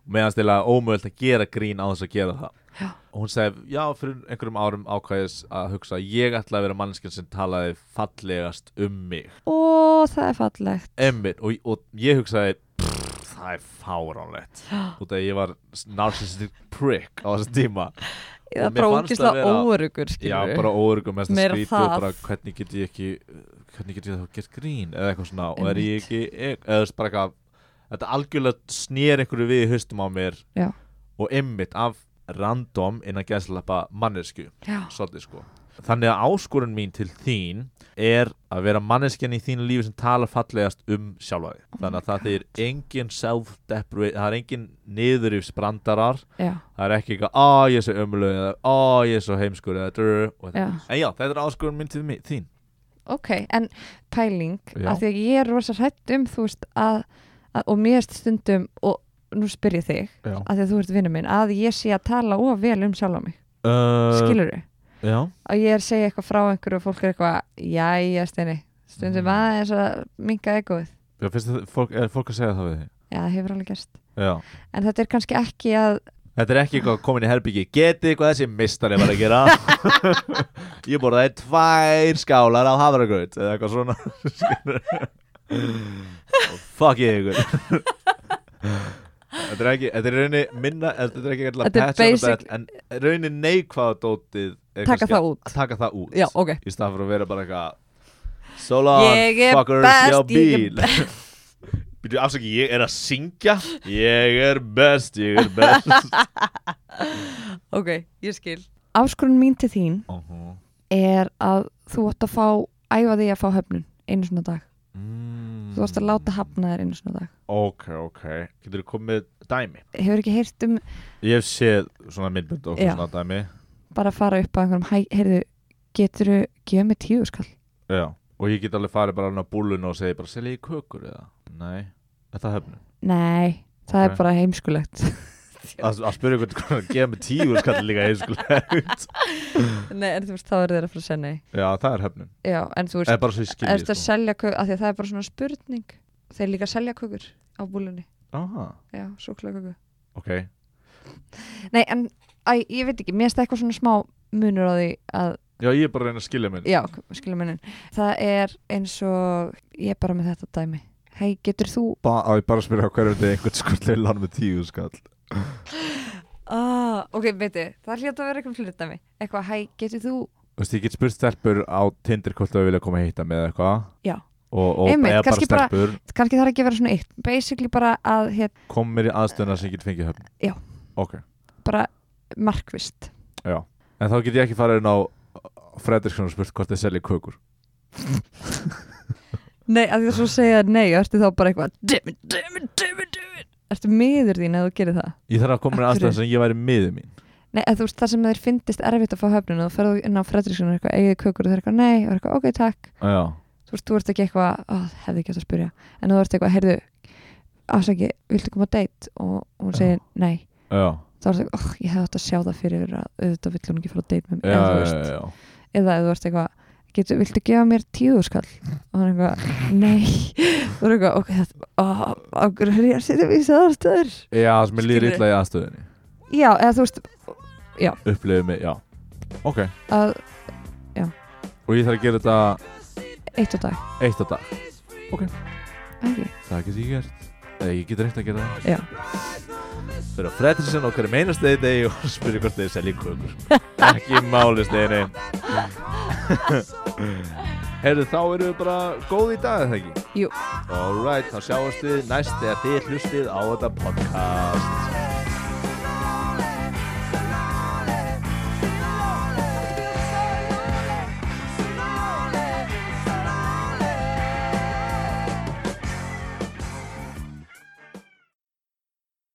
A: og meðan stila ómögult að gera grín á þess að gera það
B: Já.
A: og hún segi, já, fyrir einhverjum árum ákvæðis að hugsa að ég ætla að vera manneskinn sem talaði fallegast um mig
B: og það er fallegt
A: Einmitt, og, og ég hugsaði "Pff, það er fáránlegt út af að ég var narcissistic prick á þessum tíma
B: það er
A: mér
B: bara
A: fannst það
B: ógislega
A: vera-
B: óörugur
A: já,
B: skilurðu.
A: bara óörugum mest að
B: Meira
A: skrítu og
B: það.
A: bara hvernig get ég ekki hvernig get ég þá gert grín eða eitthvað svona og er ég
B: Einmitt.
A: ekki eh, eða þú veist, bara eitthvað þetta algjörlega snér einhverju við í haustum á mér
B: Já.
A: og einmitt af random innan gæðslappa mannesku
B: Já.
A: svolítið sko þannig að áskorun mín til þín er að vera manneskjan í þínu lífi sem tala fallegast um sjálfa þig
B: Oh
A: þannig að það þýr engin self-deprivate það er engin niðurifs brandarar
B: já,
A: það er ekki eitthvað að ég er svo ömuleg eða að ég er svo heimskur eða drr og þetta.
B: já.
A: en já, þetta er áskorun mín til mi- þín
B: ok, en pæling
A: Já.
B: af því að ég er rosa hrætt um þú veist að, að og mér erst stundum og nú spyr ég þig
A: já.
B: af því að þú ert vinnu minn, að ég sé að tala of vel um sjálf á mig,
A: Uh,
B: skilur þau
A: já,
B: að ég er að segja eitthvað frá einhverju og fólk er eitthvað, jæja steini stundum
A: Mm.
B: aðeins að minga egoið
A: já finnst þið fólk, er fólk að segja það við þig
B: já, það hefur alveg gerst,
A: já
B: en þetta er kannski ekki að
A: Þetta er ekki eitthvað komin í herbyggi Getið hvað þessi mistari var að gera Ég borðaði tvær skálar á hafragraut Eða eitthvað svona Skilurðu? Fuck ég ykkur Þetta er ekki Þetta er í rauninni minna Þetta er ekki eitthvað
B: Þetta er
A: patch on the
B: basic-
A: back, En í rauninni neikvaða dótið er
B: Taka
A: kannski
B: það út.
A: að Taka það út
B: já, ok,
A: Í stað fyrir að vera bara eitthvað So long,
B: Ég er
A: fuckers,
B: best,
A: ég á
B: ég er
A: bíl Býtu afsaki, ég er að syngja Ég er best, ég er best
B: ok, ég skil áskorun mín til þín
A: -huh.
B: er að þú ætti að fá æfa því að fá höfnun einu svona dag
A: mm.
B: þú ætti að láta hafna þér einu svona dag
A: ok, ok, getur þú komið með dæmi
B: hefur ekki heyrt um
A: ég hef séð svona myndbönd og
B: Já.
A: svona dæmi
B: bara að fara upp að einhverjum hæ, heyrðu, getur þú gefa mig tíu skall
A: já. og ég get alveg farið bara alveg á búlun og segi bara selja ég kökur eða nei, er það höfnum
B: nei, það
A: Ok.
B: er bara heimskulegt
A: að, að spyrja ykkur hvað að gefa mig tíu skall líka heimskulegt
B: nei, en þú veist, þá er þeir að fara að segja nei
A: já, það er höfnum,
B: já, en þú veist,
A: eða bara svo ég
B: er
A: skilji sko.
B: þetta að selja kökur af því að það er bara svona spurning þeir líka selja kökur á búlunni
A: Aha,
B: já, súkla kökur
A: ok,
B: nei, en æ, ég veit ekki, mér finnst eitthvað svona smá munur á því að,
A: já ég er bara að reyna að skilja minn
B: já, skilja munin það er eins og ég er bara með þetta dæmi hei, getur þú
A: ba á ég bara að spyrja hverjum þetta er einhvern skurðlega lán með tíu skall
B: ah, ok, veitu, það hljóta að vera eitthvað hlutami eitthvað, hei, getur þú
A: Þú veist, ég get spurt stelpur á Tinder hvort þau vilja koma að hitta með eitthvað
B: Já.
A: og, og
B: Einmitt,
A: eða bara
B: kannski bara-
A: stelpur
B: kannski þarf ekki að vera svona eitt basically bara að hér,
A: kom mér í aðstöðuna sem ég get fengið höfn
B: Já.
A: Ok,
B: bara markvist
A: en þá get ég ekki farið inn á Fredriksson og spurt hvort þið selja kökur
B: nei, að því að svo segja nei, ertu þá bara eitthvað damn it, damn it, damn it, damn it ertu miður þín að þú gerir það
A: Ég þarf að koma mér í
B: Af hverju?
A: aðstöðuna sem ég væri miðið mín
B: nei, að þú veist, það sem þeir fyndist erfitt að fá höfninu og ferðu inn á Fredriksson og eitthvað, eigið þið kökur og þeir eitthvað, nei, og eitthvað, ok, takk
A: Já,
B: þú veist, þú ert ekki eitthvað, ó, hefði ekki að spyrja en þú ert eitthvað, heyrðu afsaki, viltu koma á date og og hún segir nei,
A: já,
B: þá er þetta, oh, ég hefði átt að sjá það fyrir að auðvitað vill hún ekki fara á date með
A: já,
B: mér eða, þú
A: já,
B: veist,
A: já, já.
B: eða ef þú ert eitthvað, getur, viltu gefa mér tíðu skall og hann eitthvað, nei þú er eitthvað, ok, þetta oh, á hverju er ég að setja mig í þessar stöður
A: Já, sem ég líður
B: Skilurðu?
A: illa í aðstöðunni
B: já, eða þú veist,
A: Upplifið mig, já Ok,
B: að
A: og ég þarf að gera þetta
B: eitt og dag
A: eitt á dag
B: ekki,
A: Það get ég gert Eða ég get reynt að gera það
B: Já.
A: Fyrir að Fredriksson okkar meinast þeir degi og spyrir hvort þeir selja kökur Ekki máli steinu Herðu þá erum við bara góð í dag eða ekki?
B: Jú.
A: Alright, þá sjáumst við næst þegar þið hlustið á þetta podcast